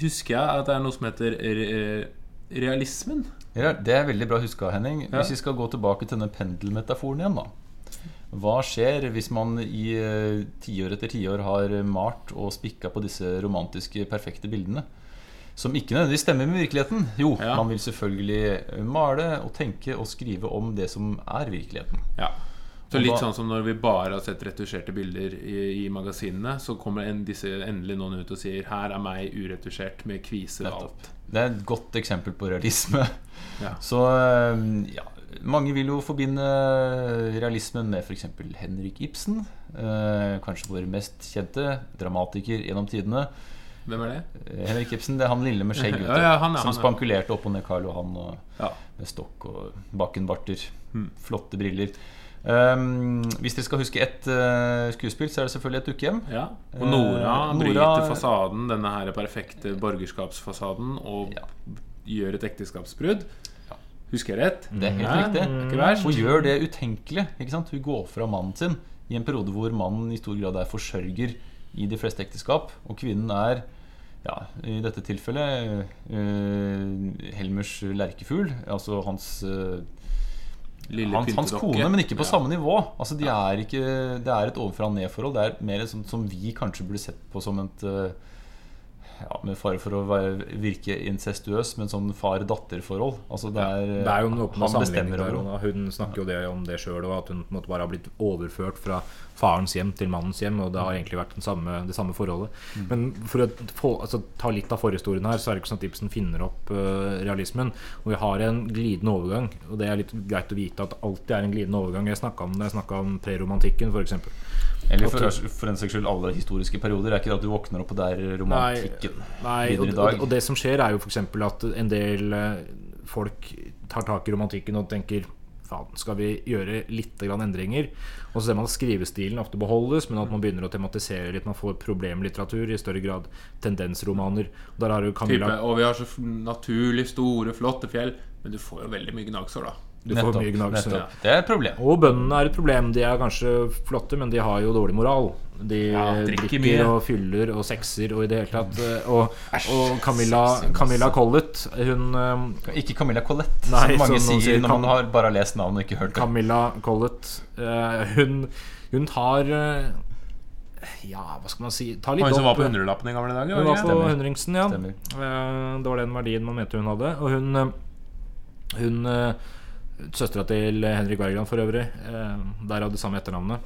B: husker jeg at det er noe som heter re eh, realismen.
A: Ja, det er veldig bra huska, Henning. Hvis vi skal gå tilbake til denne pendelmetaforen igjen, da. Hva skjer hvis man i eh, tiår etter tiår har malt og spikka på disse romantiske, perfekte bildene? Som ikke nødvendigvis stemmer med virkeligheten. Jo,
B: Ja.
A: man vil selvfølgelig male og tenke og skrive om det som er virkeligheten.
B: Ja. Så
A: Og
B: litt
A: hva-
B: sånn som når vi bare har sett retusjerte bilder i, i magasinene, så kommer en, disse endelig noen ut og sier 'Her er meg uretusjert med kviser og alt'.
A: Det er et godt eksempel på realisme.
B: Ja.
A: Så eh, ja, mange vil jo forbinde eh, realismen med f.eks. Henrik Ibsen. eh, Kanskje vår mest kjente dramatiker gjennom tidene.
B: Hvem er det?
A: Eh, Henrik Ibsen, det er han lille med skjegg vet du,
B: Ja, ja, han er-
A: som
B: han er.
A: spankulerte opp og ned Karl Johan og
B: Ja. Mm.
A: med stokk og bakkenbarter. Flotte briller. Um, hvis dere skal huske ett eh, skuespill, så er det selvfølgelig et dukkehjem.
B: Ja. Og Nora
A: Eh, Nora-
B: bryter fasaden, denne her perfekte borgerskapsfasaden, og
A: Ja.
B: gjør et ekteskapsbrudd. Husker jeg rett?
A: Det er helt
B: Nei,
A: riktig.
B: det er Ikke verst.
A: Hun gjør det utenkelige. Ikke sant? Hun går fra mannen sin i en periode hvor mannen i stor grad er forsørger i de fleste ekteskap, og kvinnen er ja, i dette tilfellet eh, Helmers lerkefugl, altså hans, eh,
B: Lille
A: hans, hans
B: pyntedokke.
A: kone, men ikke på
B: Ja.
A: samme nivå. Altså, de er ikke, det er et ovenfra-og-ned-forhold. Det er mer et sånt som vi kanskje burde sett på som et eh, ja, Med fare for å være, virke incestuøs, men sånn far-datter-forhold. Altså, det er,
D: Det er jo en åpen
A: han
D: sammenligning
A: bestemmer
D: der.
A: over
D: og
A: henne.
D: da. Hun snakker jo det om det sjøl, og at hun på en måte bare har blitt overført fra farens hjem til mannens hjem. Og det har egentlig vært den samme, det samme forholdet.
A: Mm.
D: Men for å få, altså, ta litt av forhistorien her, så er det ikke sånn at Ibsen finner opp eh, realismen. Og vi har en glidende overgang, og det er litt greit å vite at det alltid er en glidende overgang. Jeg snakka om det, jeg snakka om preromantikken, f.eks.
A: Eller
D: At
A: for, for den saks skyld alle historiske perioder. Det er ikke det at du våkner opp og det er romantikken.
D: Nei, og,
A: videre i dag.
D: og, og det som skjer er jo f.eks. at en del eh, folk tar tak i romantikken og tenker Faen, skal vi gjøre litt grann endringer? Og så ser man at skrivestilen ofte beholdes, men at man begynner å tematisere litt. Man får problemlitteratur i større grad. Tendensromaner. Og Der har jo
B: Type,
D: Camilla
B: og vi har så f- naturlig store, flotte fjell. Men du får jo veldig mye gnagsår, da.
D: Du får mye gnagsår.
A: nettopp. Det er et problem.
D: Og bøndene er et problem. De er kanskje flotte, men de har jo dårlig moral. De
B: Ja, drikker
D: drikker,
B: mye.
D: og fyller og sexer og i det hele tatt. eh, Og, og Camilla, Camilla Collett, hun eh,
A: Ikke Camilla Collette,
D: Nei,
A: som mange
D: som
A: sier
D: noen sier,
A: når
D: Cam-
A: man har bare har lest navnet og ikke hørt det.
D: Camilla Collett. eh, hun, hun tar eh, Ja, hva skal man si tar litt
B: Han som var
D: opp,
B: på hundrelappen i gamle dager.
D: Hun
B: Var det
D: var
B: ikke?
D: på
A: Stemmer.
D: hundringsen, ja.
A: Stemmer.
D: Eh, det var den verdien man mente hun hadde. Og hun, eh, hun eh, Søstera til Henrik Wergeland for øvrig, eh, der hadde samme etternavnet.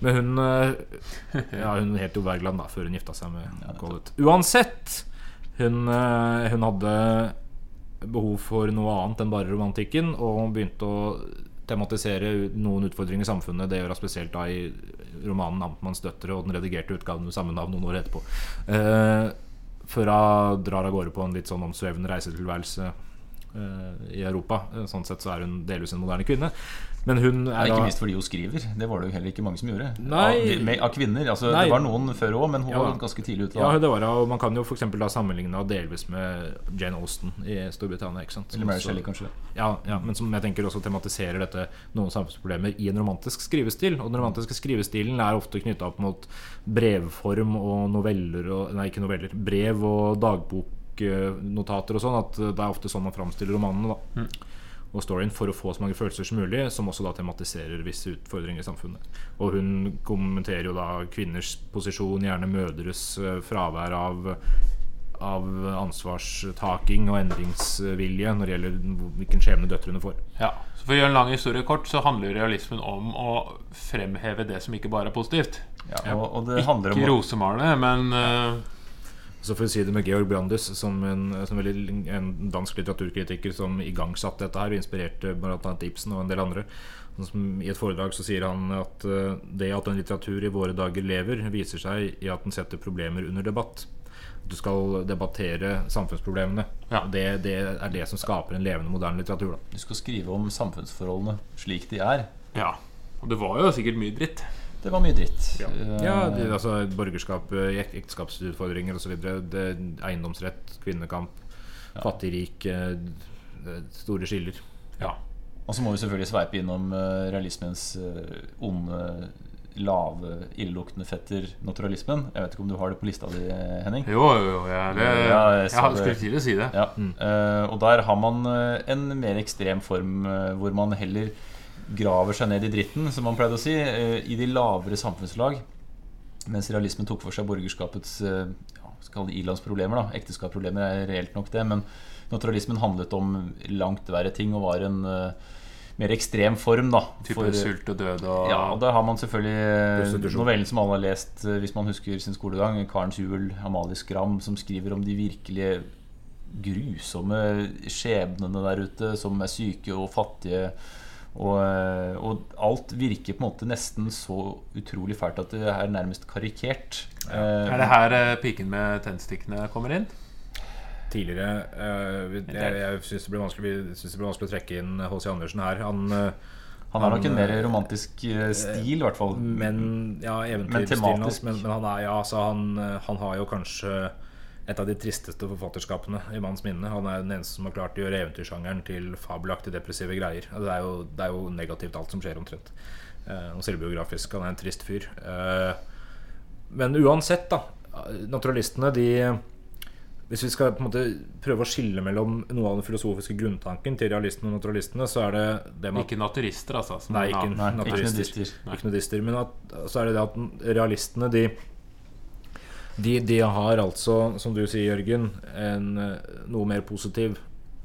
D: Men hun eh, Ja, hun het jo Wergeland da, før hun gifta seg med Collett. Uansett, hun, eh, hun hadde behov for noe annet enn bare romantikken, og hun begynte å tematisere u- noen utfordringer i samfunnet. Det gjør hun spesielt da i romanen 'Amtmanns døtre' og den redigerte utgaven med samme navn noen år etterpå. Eh, før hun drar av gårde på en litt sånn omsvevende reisetilværelse eh, i Europa. Eh, Sånn sett så er hun delvis en moderne kvinne. Men hun
A: Ja,
D: er
A: ikke
D: da
A: minst fordi hun skriver. Det var det jo heller ikke mange som gjorde.
D: Nei.
A: Av, med, av kvinner. Altså,
D: Nei.
A: det var noen før òg, men hun
D: Ja.
A: var ganske tidlig ute.
D: ja,
A: da.
D: det var, det, og Man kan jo for eksempel da sammenligne henne delvis med Jane Austen i Storbritannia. ikke sant?
A: Eller Mary
D: Så-
A: Shelley, kanskje.
D: ja, ja, men som jeg tenker også tematiserer dette noen samfunnsproblemer i en romantisk skrivestil. Og den romantiske skrivestilen er ofte knytta opp mot brevform og noveller og, Nei, ikke noveller. Brev og dagboknotater og sånn. At det er ofte sånn man framstiller romanene, da. Og storyen for å få så mange følelser som mulig, som også da tematiserer visse utfordringer i samfunnet. Og hun kommenterer jo da kvinners posisjon, gjerne mødres eh, fravær av av ansvarstaking og endringsvilje når det gjelder hvilken skjebne døtrene får.
B: Ja, så For å gjøre en lang historie kort, så handler jo realismen om å fremheve det som ikke bare er positivt.
A: Ja, og, og det handler
B: Ikke
A: om å-
B: rosemalende, men eh,
D: Så for å si det med Georg Brandes, som en, som veldig, en dansk litteraturkritiker som igangsatte dette her, og inspirerte bl.a. Ibsen og en del andre. Sånn Som I et foredrag så sier han at eh, det at en litteratur i våre dager lever, viser seg i at den setter problemer under debatt. Du skal debattere samfunnsproblemene.
B: Ja.
D: Det, det er det som skaper en levende, moderne litteratur. Da.
A: Du skal skrive om samfunnsforholdene slik de er.
B: ja. Og det var jo sikkert mye dritt.
A: Det var mye dritt. Eh,
D: Ja, det, altså borgerskap, eh, ek- ekteskapsutfordringer osv. Eiendomsrett, kvinnekamp, fattig-rik, eh, d- store skiller.
B: Ja.
A: Og så må vi selvfølgelig sveipe innom eh, realismens eh, onde, lave, illeluktende fetter, naturalismen. Jeg vet ikke om du har det på lista di, Henning?
B: Jo, jo, jo. Jeg, det,
A: Ja, jeg
B: jeg,
A: sa det.
B: skulle til å si det.
A: Ja. Eh, og der har man eh, en mer ekstrem form eh, hvor man heller graver seg ned i dritten, som man pleide å si, eh, i de lavere samfunnslag. Mens realismen tok for seg borgerskapets eh, ja, skal det ilandsproblemer. da. Ekteskapsproblemer er reelt nok det, men naturalismen handlet om langt verre ting og var en eh, mer ekstrem form. da.
B: Type
A: for- eh,
B: sult og død og
A: ja, og der har man selvfølgelig eh,
D: Prostitusjon.
A: novellen som alle har lest eh, hvis man husker sin skolegang. Karens Juel, Amalie Skram, som skriver om de virkelig grusomme skjebnene der ute, som er syke og fattige. Og, eh, og alt virker på en måte nesten så utrolig fælt at det er nærmest karikert. Eh,
B: Er det her eh, piken med tennstikkene kommer inn?
D: Tidligere eh, vi- Jeg, jeg syns det blir vanskelig vi synes det blir vanskelig å trekke inn H.C. Andersen her. Han, eh,
A: han har nok en
D: han,
A: mer romantisk eh, stil, i hvert fall.
D: men ja,
A: Men
D: eventyrstilen
A: tematisk.
D: hans. Men, men han, er, ja, så han, eh, han har jo kanskje et av de tristeste forfatterskapene i manns minne. Han er den eneste som har klart å gjøre eventyrsjangeren til fabelaktig depressive greier. Og Det er jo, det er jo negativt alt som skjer, omtrent. Eh, og selvbiografisk. Han er en trist fyr. Eh, men uansett, da. Naturalistene, de hvis vi skal på en måte prøve å skille mellom noe av den filosofiske grunntanken til realistene og naturalistene, så er det det med at
B: Ikke naturister, altså. som
D: Nei,
B: en
D: ikke,
B: annen.
A: Nei, ikke
D: naturister.
A: nudister.
D: Nei. Ikke nudister. Men at, så er det det at realistene, de, de, de har altså, som du sier, Jørgen, en eh, noe mer positiv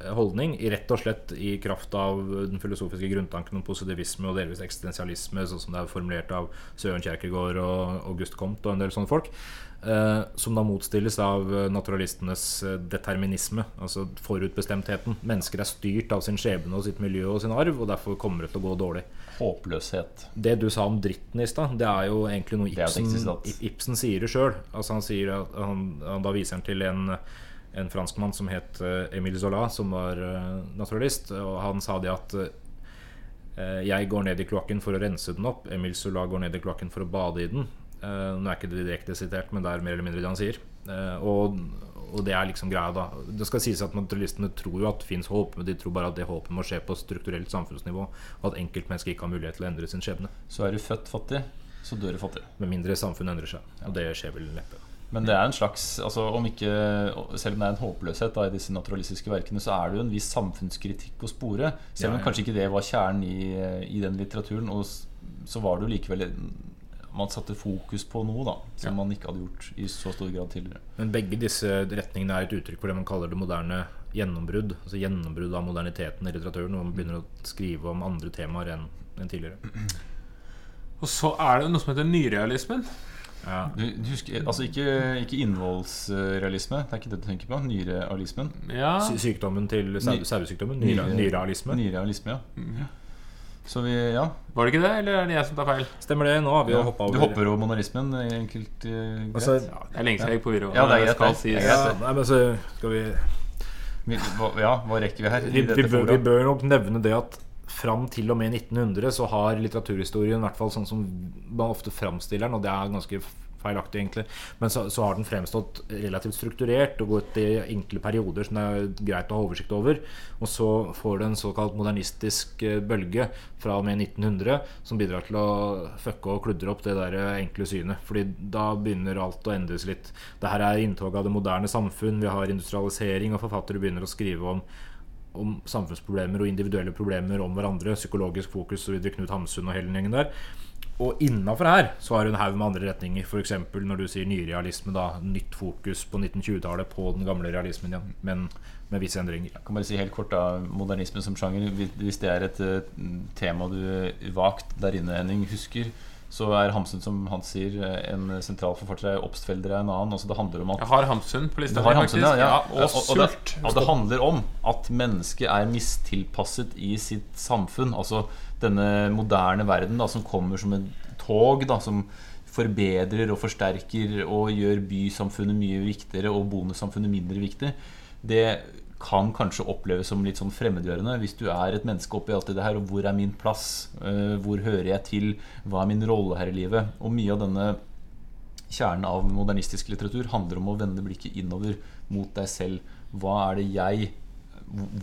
D: eh, holdning. i- Rett og slett i kraft av den filosofiske grunntanken om positivisme og delvis eksistensialisme, sånn som det er formulert av Søren Kierkegaard og August Comte og en del sånne folk. eh, Som da motstilles av eh, naturalistenes eh, determinisme, altså forutbestemtheten. Mennesker er styrt av sin skjebne og sitt miljø og sin arv, og derfor kommer det til å gå dårlig.
A: Håpløshet.
D: Det du sa om dritten i stad, det er jo egentlig noe
A: Det er jo et
D: Ibsen,
A: eksistensialt.
D: I- Ibsen sier det sjøl. Altså han sier at han, han da viser han til en, en franskmann som het eh, Emile Zola, som var eh, naturalist, og han sa det at eh, jeg går ned i kloakken for å rense den opp. Emil Zola går ned i kloakken for å bade i den. Eh, nå er ikke det direkte sitert, men det er mer eller mindre det han sier. Eh, og, og det er liksom greia, da. Det skal sies at naturalistene tror jo at det fins håp, men de tror bare at det håpet må skje på strukturelt samfunnsnivå, og at enkeltmennesket ikke har mulighet til å endre sin skjebne.
A: Så er du født fattig, så dør du fattig.
D: Med mindre samfunnet endrer seg. Og det skjer vel neppe.
A: Men det er en slags altså om ikke, Selv om det er en håpløshet da, i disse naturalistiske verkene, så er det jo en viss samfunnskritikk å spore. Selv om
D: Ja, ja.
A: kanskje ikke det var kjernen i, i den litteraturen, og s- så var det jo likevel Man satte fokus på noe da som man ikke hadde gjort i så stor grad tidligere.
D: Men begge disse retningene er et uttrykk for det man kaller det moderne gjennombrudd. Altså gjennombrudd av moderniteten i litteraturen, hvor man begynner å skrive om andre temaer enn enn tidligere.
B: Og så er det noe som heter nyrealismen.
D: Ja.
A: Du, du husker, altså Ikke, ikke innholdsrealisme, det er ikke det du tenker på? Nyrealismen?
B: Ja,
D: Sy- Sykdommen til sau-
A: Ny-
D: sauesykdommen, nyre-
A: Nyre-
D: nyrealisme.
A: Nyrealisme, Mm, ja. Så vi, ja.
B: Var det ikke det, eller er det jeg som tar feil?
D: Stemmer det? Nå har vi jo hoppa
A: Du
D: over
A: hopper over monarkismen enkelt eh, greit.
D: altså,
B: Ja, det er lenge siden jeg gikk på videregående.
A: Ja, det er greit,
B: skal
A: det.
B: sies.
A: Det er
D: ja, Nei, men så skal vi
A: Vi, hva- ja, hva rekker vi her? i
D: Vi,
A: dette
D: vi, bør,
A: fora?
D: vi bør nok nevne det at fram til og med 1900 så har litteraturhistorien, i hvert fall sånn som man ofte framstiller den, og det er ganske feilaktig egentlig, men så, så har den fremstått relativt strukturert og gått i enkle perioder som det er greit å ha oversikt over. Og så får det en såkalt modernistisk eh, bølge fra og med 1900 som bidrar til å fucke og kludre opp det der eh, enkle synet. Fordi da begynner alt å endres litt. Det her er inntoget av det moderne samfunn, vi har industrialisering, og forfattere begynner å skrive om om samfunnsproblemer og individuelle problemer om hverandre. Psykologisk fokus osv. Knut Hamsun og hele den gjengen der. Og innafor her så har du en haug med andre retninger. F.eks. når du sier nyrealisme, da. Nytt fokus på 1920-tallet på den gamle realismen igjen, men med visse endringer.
A: kan bare si helt kort da, Modernismen som sjanger, hvis- hvis det er et eh, tema du vagt der inne Henning husker, så er Hamsun, som han sier, eh, en sentral forfatter. Obstfelder er en annen. Altså, det handler om at
B: Jeg har Hamsun på lista.
A: Du har
B: mi,
A: Hamsun,
B: faktisk.
A: ja, ja.
B: Ja, og sult.
A: Det, og det handler om at mennesket er mistilpasset i sitt samfunn. Altså denne moderne verden da, som kommer som et tog, da, som forbedrer og forsterker og gjør bysamfunnet mye viktigere og bondesamfunnet mindre viktig. Det kan kanskje oppleves som litt sånn fremmedgjørende hvis du er et menneske oppi alt det her, og hvor er min plass? Eh, Hvor hører jeg til? Hva er min rolle her i livet? Og mye av denne kjernen av modernistisk litteratur handler om å vende blikket innover mot deg selv. Hva er det jeg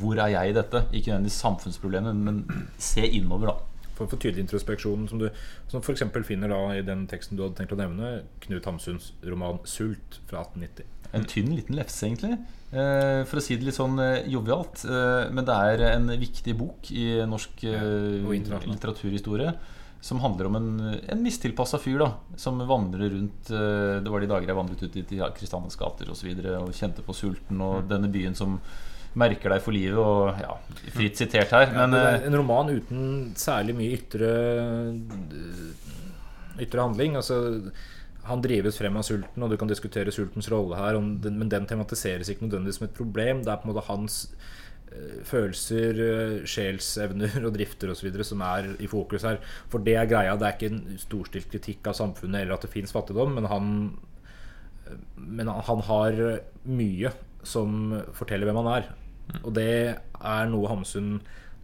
A: Hvor er jeg i dette? Ikke nødvendigvis samfunnsproblemet, men se innover, da.
D: For, for tydelig introspeksjon, som du som for eksempel finner da i den teksten du hadde tenkt å nevne, Knut Hamsuns roman 'Sult' fra 1890.
A: En tynn liten lefse, egentlig. Eh, For å si det litt sånn eh, jovialt. eh, Men det er en viktig bok i norsk eh,
D: og internasjonal.
A: litteraturhistorie. Som handler om en, en mistilpassa fyr da som vandrer rundt eh, Det var de dager jeg vandret ut dit i Kristiannes gater og, så videre, og kjente på sulten og
D: Mm.
A: denne byen som merker deg for livet. Og ja, fritt sitert her. Men
D: Det
A: eh,
D: er en roman uten særlig mye ytre eh, Ytre handling. Altså, han drives frem av sulten, og du kan diskutere sultens rolle her, om den, men den tematiseres ikke nødvendigvis som et problem. Det er på en måte hans eh, følelser, eh, sjelsevner og drifter osv. som er i fokus her. For det er greia. Det er ikke en storstilt kritikk av samfunnet eller at det fins fattigdom, men han men han- han har mye som forteller hvem han er. Og det er noe Hamsun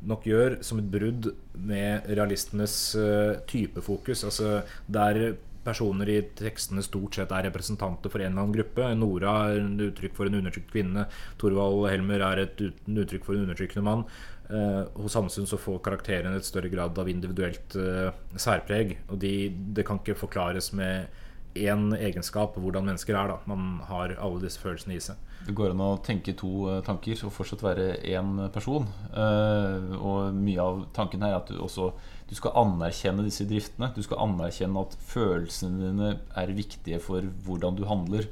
D: nok gjør som et brudd med realistenes eh, typefokus. Altså der personer i tekstene stort sett er representanter for en eller annen gruppe. Nora er et uttrykk for en undertrykt kvinne. Thorvald Helmer er et ut- uttrykk for en undertrykkende mann. Eh, hos Hamsun så får karakterene et større grad av individuelt eh, særpreg. Og de, det kan ikke forklares med én egenskap på hvordan mennesker er. da Man har alle disse følelsene i seg.
A: det går an å tenke to eh, tanker og fortsatt være én person. Eh, Og mye av tanken her er at du også du skal anerkjenne disse driftene. Du skal anerkjenne at følelsene dine er viktige for hvordan du handler.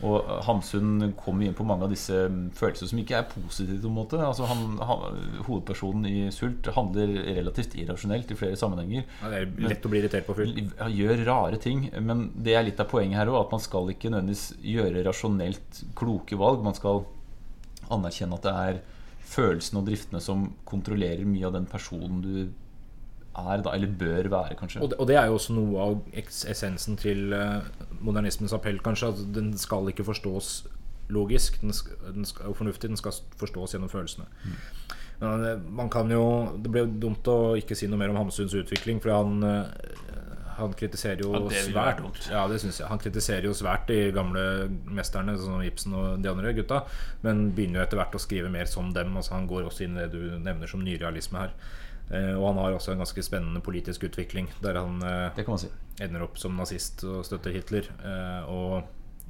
A: Og eh, Hamsun kommer inn på mange av disse mm, følelser som ikke er positive. på en måte altså han, han, Hovedpersonen i Sult handler relativt irrasjonelt i flere sammenhenger.
D: Det er lett å bli irritert på fyll.
A: Ja, gjør rare ting. Men det er litt av poenget her òg, at man skal ikke nødvendigvis gjøre rasjonelt kloke valg. Man skal anerkjenne at det er følelsene og driftene som kontrollerer mye av den personen du er, da, eller bør være, kanskje.
D: Og det, og det er jo også noe av eks- essensen til eh, modernismens appell, kanskje. At den skal ikke forstås logisk den skal, den skal, og fornuftig. Den skal forstås gjennom følelsene.
B: Mm.
D: Men, eh, Man kan jo, det blir jo dumt å ikke si noe mer om Hamsuns utvikling, for han, eh, han kritiserer jo
B: det vil være
D: svært
B: dumt.
D: Ja, det synes jeg. Han kritiserer jo svært de gamle mesterne, sånn som Ibsen og de andre gutta, men begynner jo etter hvert å skrive mer som dem. Altså, han går også inn i det du nevner som nyrealisme her. Eh, og han har også en ganske spennende politisk utvikling, der han eh,
A: Det kan man si.
D: ender opp som nazist og støtter Hitler. Eh, og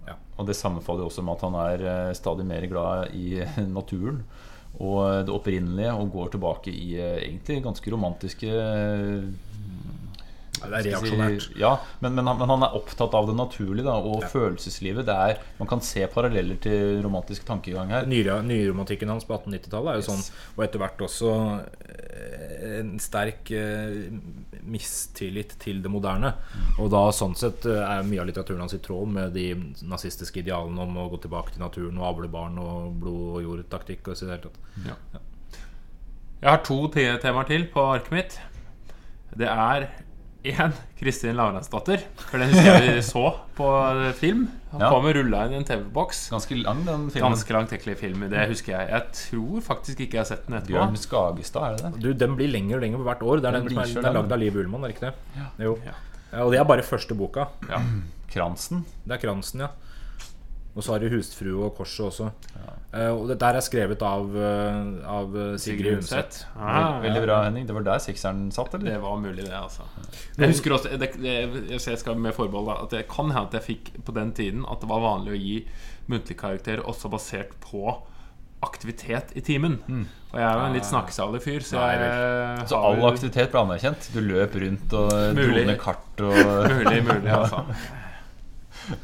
D: ja,
A: Og det sammenfaller jo også med at han er eh, stadig mer glad i eh, naturen og det opprinnelige, og går tilbake i eh, egentlig ganske romantiske eh,
D: det er
A: skal jeg
D: reaksjonært.
A: Si, ja, men, men, han- men han er opptatt av det naturlige da, og følelseslivet. Det er, man kan se paralleller til romantisk tankegang her.
D: Nyra- Nyromantikken hans på 1890-tallet er
A: Yes.
D: jo sånn, og etter hvert også eh, en sterk eh, mistillit til det moderne. Og da sånn sett eh, er mye av litteraturen hans i tråd med de nazistiske idealene om å gå tilbake til naturen og avle barn og blod og jord-taktikk. Og så i det hele tatt.
B: Jeg har to te- temaer til på arket mitt. Det er én Kristin Lavransdatter. For det husker jeg vi så på eh, film. Han
A: Ja.
B: kom og rulla inn i en TV-boks.
A: Ganske lang, den filmen.
B: Ganske langt ekle film. Det husker jeg. Jeg tror faktisk ikke jeg har sett den etterpå.
A: Bjørn Skagestad, er det det?
D: Du, Den blir lenger og lenger hvert år. Det er den,
A: Den
D: som
A: blir
D: er,
A: så
D: den er
A: lang.
D: lagd av Liv Ullmann, er det ikke det? Jo. Ja, og det er bare første boka.
B: Ja.
A: Kransen.
D: Det er Kransen, ja. Og så har du Hustfrue og Korset også. Eh, og dette her er skrevet av, eh, av eh, Sigrid Undset.
B: Ah,
A: Veldig bra, Henning. Det var der sekseren satt,
B: Det
A: eller?
B: var mulig, det, altså. Jeg husker også det, det, jeg- Jeg skal med forbehold da, at det kan hende at jeg fikk på den tiden at det var vanlig å gi muntlig karakter også basert på aktivitet i timen.
A: Mm.
B: Og jeg er jo en litt snakkesalig fyr, så
D: Nei,
B: jeg
A: Ah. Så
B: har
A: all
B: vel-
A: aktivitet ble anerkjent. Du løp rundt og dro
B: Mulig.
A: ned kart og
B: Mulig, mulig, altså.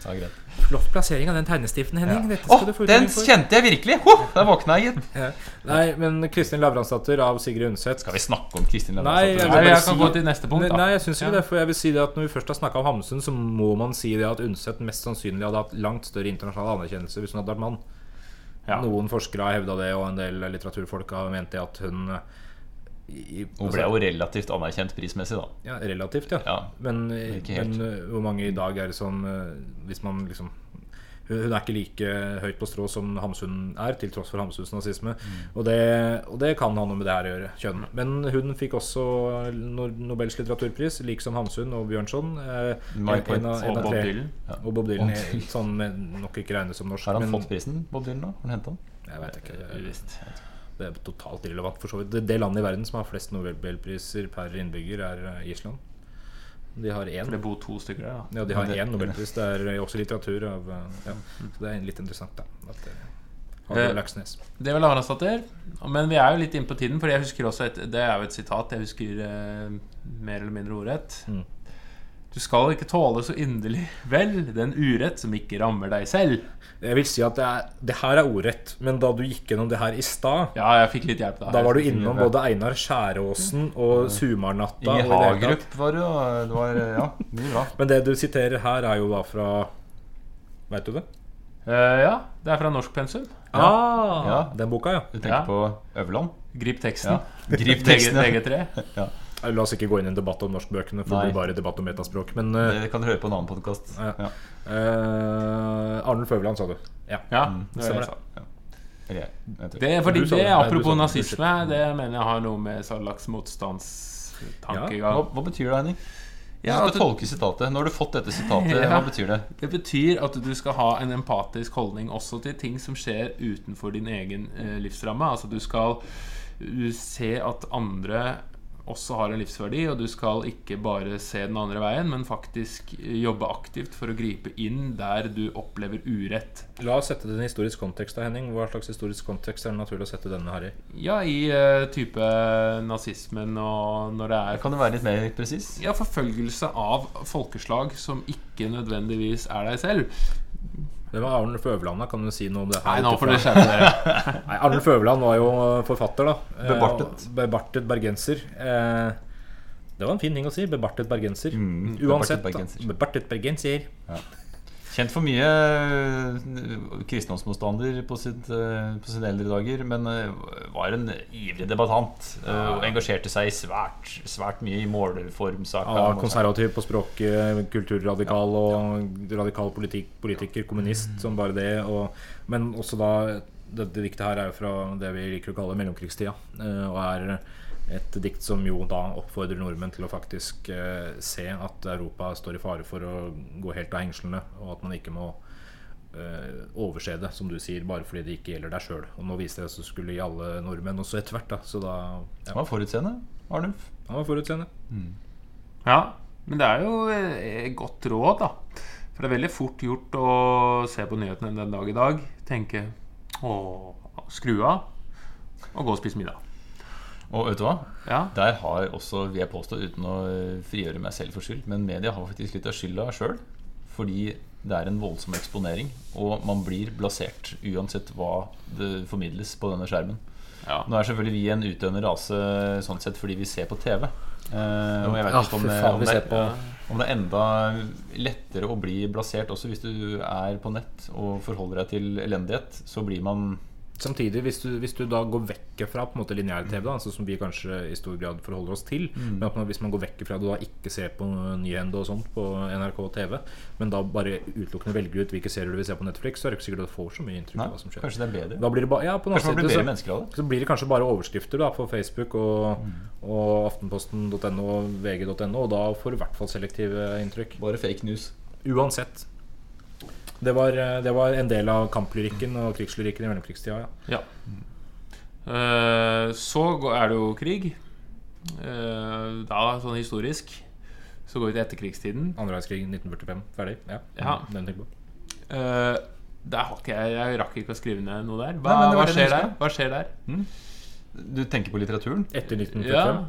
A: ja, greit.
D: Flott plassering av den tegnestiften, Henning. Dette
A: Å,
D: skal du få
A: den
D: utdeling for.
A: kjente jeg virkelig! Ho, der våkna jeg, gitt.
D: Ja. Nei, men Kristin Lavransdatter av Sigrid Undset
A: Skal vi snakke om Kristin
D: Nei,
A: Lavransdatter?
D: vil
B: Nei,
D: bare
B: jeg kan gå til neste punkt, da.
D: Nei, jeg syns ikke
B: Ja.
D: det. For jeg vil si det at når vi først har snakka om Hamsun, så må man si det at Undset mest sannsynlig hadde hatt langt større internasjonal anerkjennelse hvis hun hadde vært mann.
B: Ja.
D: Noen forskere har hevda det, og en del litteraturfolk har ment det at hun eh, i,
A: Hun ble jo relativt anerkjent prismessig, da.
D: Ja, relativt, ja.
A: Ja,
D: men
A: ikke helt.
D: men eh, hvor mange i dag er det som eh, Hvis man liksom hun hun er ikke like høyt på strå som Hamsun er, til tross for Hamsuns nazisme.
A: Mm.
D: Og, det, og det kan ha noe med det her å gjøre. Kjønn. Men hun fikk også no- Nobels litteraturpris, like som Hamsun og Bjørnson. eh,
A: My point.
B: Og Bob Dylan.
D: Og Bob Dylan.
A: Bob Dylan.
D: Sånn men nok ikke regnes som norsk.
A: Har han
D: men-
A: fått prisen, Bob Dylan? nå? Har han hentet den?
D: Jeg vet ikke.
B: Uvisst.
D: Det er totalt irrelevant for så vidt. Det, det landet i verden som har flest Nobelpriser per innbygger, er eh, Island. De har
B: For
D: én.
B: det bor to stykker der, da.
D: Ja, de har
A: Det-
D: én Nobelpris. Det er eh, også litteratur. Av, eh, ja. Så det er litt interessant, da. At, eh, Harald
B: Eh,
D: Laksnes.
B: Det var Lavransdatter. Men vi er jo litt inne på tiden, for jeg husker også et, det er jo et sitat jeg husker eh, mer eller mindre ordrett.
D: Mm.
B: Du skal ikke tåle så inderlig vel den urett som ikke rammer deg selv.
D: Jeg vil si at det, er, det her er ordrett, men da du gikk gjennom det her i stad
B: Ja, jeg fikk litt hjelp da.
D: da var du innom både Einar Skjæråsen og Sumarnatta. og i
A: Inge
D: det hele tatt.
A: Hagerup var jo eh, det var, Ja, mye bra.
D: Men det du siterer her, er jo da fra Veit du det?
B: Eh, ja, det er fra norsk pensum.
D: Ah,
A: Ja,
D: Den boka, ja.
A: Du
B: Ja.
A: tenker på Øverland?
B: Grip teksten.
A: Ja. Grip teksten, ja.
B: VG3.
D: Eh, La oss ikke gå inn i en debatt om norskbøkene, for
A: Nei.
D: det blir bare debatt om metaspråk. Men eh,
A: Det kan du høre på en annen podkast.
D: Ja.
A: Ja.
D: eh, Arnulf Øverland, sa du. Ja.
B: Ja, det var
D: Mm. stemmer
B: det.
D: det.
B: jeg sa.
A: Eller jeg, jeg tror.
B: Det er fordi
D: Du sa
B: det,
D: det. Nei, du
B: apropos
D: sa det.
B: nazisme, det mener jeg har noe med sånn slags motstandstankegang
A: Hva, hva betyr det, Henning? Ja,
B: Ja,
A: du
B: at
A: skal
B: du-
A: tolke sitatet. Nå har du fått dette sitatet.
B: Ja.
A: Hva betyr det?
B: Det betyr at du skal ha en empatisk holdning også til ting som skjer utenfor din egen eh, livsramme. Altså du skal eh, se at andre også har en livsverdi, og du skal ikke bare se den andre veien, men faktisk eh, jobbe aktivt for å gripe inn der du opplever urett.
D: La oss sette det i en historisk kontekst. da, Henning Hva slags historisk kontekst er det naturlig å sette denne her i?
B: Ja, i eh, type nazismen og når det er
A: Kan du være litt mer presis?
B: ja, forfølgelse av folkeslag som ikke nødvendigvis er deg selv.
D: Det var Arnulf Øverland, da. Kan du si noe om det her?
B: Nei, nå
D: ut
B: får dere
D: ifra-
B: skjerpe dere.
D: Nei, Arnulf Øverland var jo forfatter, da. Eh,
A: Bebartet.
D: og Bebartet bergenser. Eh, det var en fin ting å si. Bebartet bergenser.
A: Mm,
D: Uansett,
A: bebartet
D: da.
A: bergenser.
D: Bebartet bergenser.
A: Kjent for mye eh, kristendomsmotstander på, sitt, eh, på sine eldre dager, men eh, var en ivrig debattant. eh, Og engasjerte seg svært, svært mye i målformsaker.
D: Han var konservativ på språket, kulturradikal og radikal politikk, politiker, kommunist som bare det. Og, men også da Dette diktet her er jo fra det vi liker å kalle mellomkrigstida. eh, Og er et dikt som jo da oppfordrer nordmenn til å faktisk eh, se at Europa står i fare for å gå helt av hengslene, og at man ikke må eh, overse det, som du sier, bare fordi det ikke gjelder deg sjøl. Og nå viste det seg at det skulle gi alle nordmenn også etter hvert, da. Så da ja,
A: Han var forutseende, Arnulf.
D: Han var forutseende.
B: Ja, men det er jo eh, godt råd, da. For det er veldig fort gjort å se på nyhetene den dag i dag, tenke å skru av, og gå og spise middag.
A: Og vet du hva?
B: Ja,
A: Der har også, vil jeg påstå, uten å eh, frigjøre meg selv for skyld, men media har faktisk litt av skylda sjøl. Fordi det er en voldsom eksponering, og man blir blasert uansett hva det formidles på denne skjermen.
B: ja.
A: Nå er selvfølgelig vi en utdøende rase sånn sett fordi vi ser på TV. Eh, og jeg vet
D: Ja,
A: ikke om
D: fy
A: det,
D: faen,
A: om,
D: vi
A: det,
D: ser på-
A: om det er enda lettere å bli blasert, også hvis du er på nett og forholder deg til elendighet, så blir man
D: Samtidig, hvis du, hvis du da går vekk fra på en måte lineær-TV, da, altså som vi kanskje i stor grad forholder oss til
A: Mm.
D: Men at man, Hvis man går vekk fra det og da ikke ser på Nyhende og sånt på NRK TV, men da bare utelukkende velger ut hvilke serier du vil se på Netflix, så er det ikke sikkert at du får så mye inntrykk
A: Nei,
D: av hva som skjer.
A: kanskje det er bedre.
D: Da blir det ba, ja, på den
A: Kanskje man
D: andre
A: blir
D: siden
A: bedre
D: så-
A: mennesker av det. Mm.
D: Så blir det kanskje bare overskrifter da på Facebook og, og aftenposten.no og vg.no, og da får du i hvert fall selektive inntrykk.
A: Bare fake news.
D: Uansett. Det var, eh, det var en del av kamplyrikken og krigslyrikken i mellomkrigstida. Ja.
B: Ja. Eh, så gå- er det jo krig. Eh, da, sånn historisk, så går vi til etterkrigstiden.
D: Andre verdenskrig 1945. Ferdig. Ja.
B: Ja.
D: Den tenker på.
B: Eh, der har ikke jeg, jeg rakk ikke å skrive ned noe der.
A: Nei, men
B: Hva,
A: det var
B: hva,
A: det
B: skjer
A: du
B: der?
A: husker.
B: hva skjer der?
A: Du tenker på litteraturen?
D: Etter 1945.
B: Ja.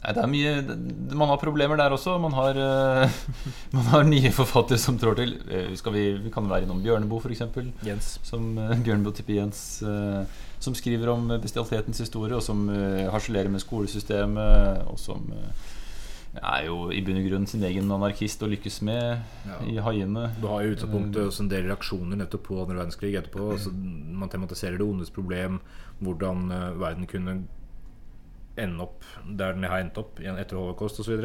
A: Nei, det er mye, det- man har problemer der også. Man har, eh, man har nye forfattere som trår til. Eh, Skal vi, vi kan være innom Bjørneboe, f.eks.
D: Jens.
A: Som eh, Bjørneboe Tippe Jens, eh, som skriver om eh, bestialitetens historie, og som eh, harselerer med skolesystemet, og som eh, er jo i bunn og grunn sin egen anarkist og lykkes med
D: Ja.
A: i haiene.
D: Du har jo i utgangspunktet
A: Eh.
D: også en del reaksjoner nettopp på andre verdenskrig
A: Mm.
D: etterpå. Altså, man tematiserer det ondes problem, hvordan eh, verden kunne ende opp der den har endt opp igjen etter holocaust osv.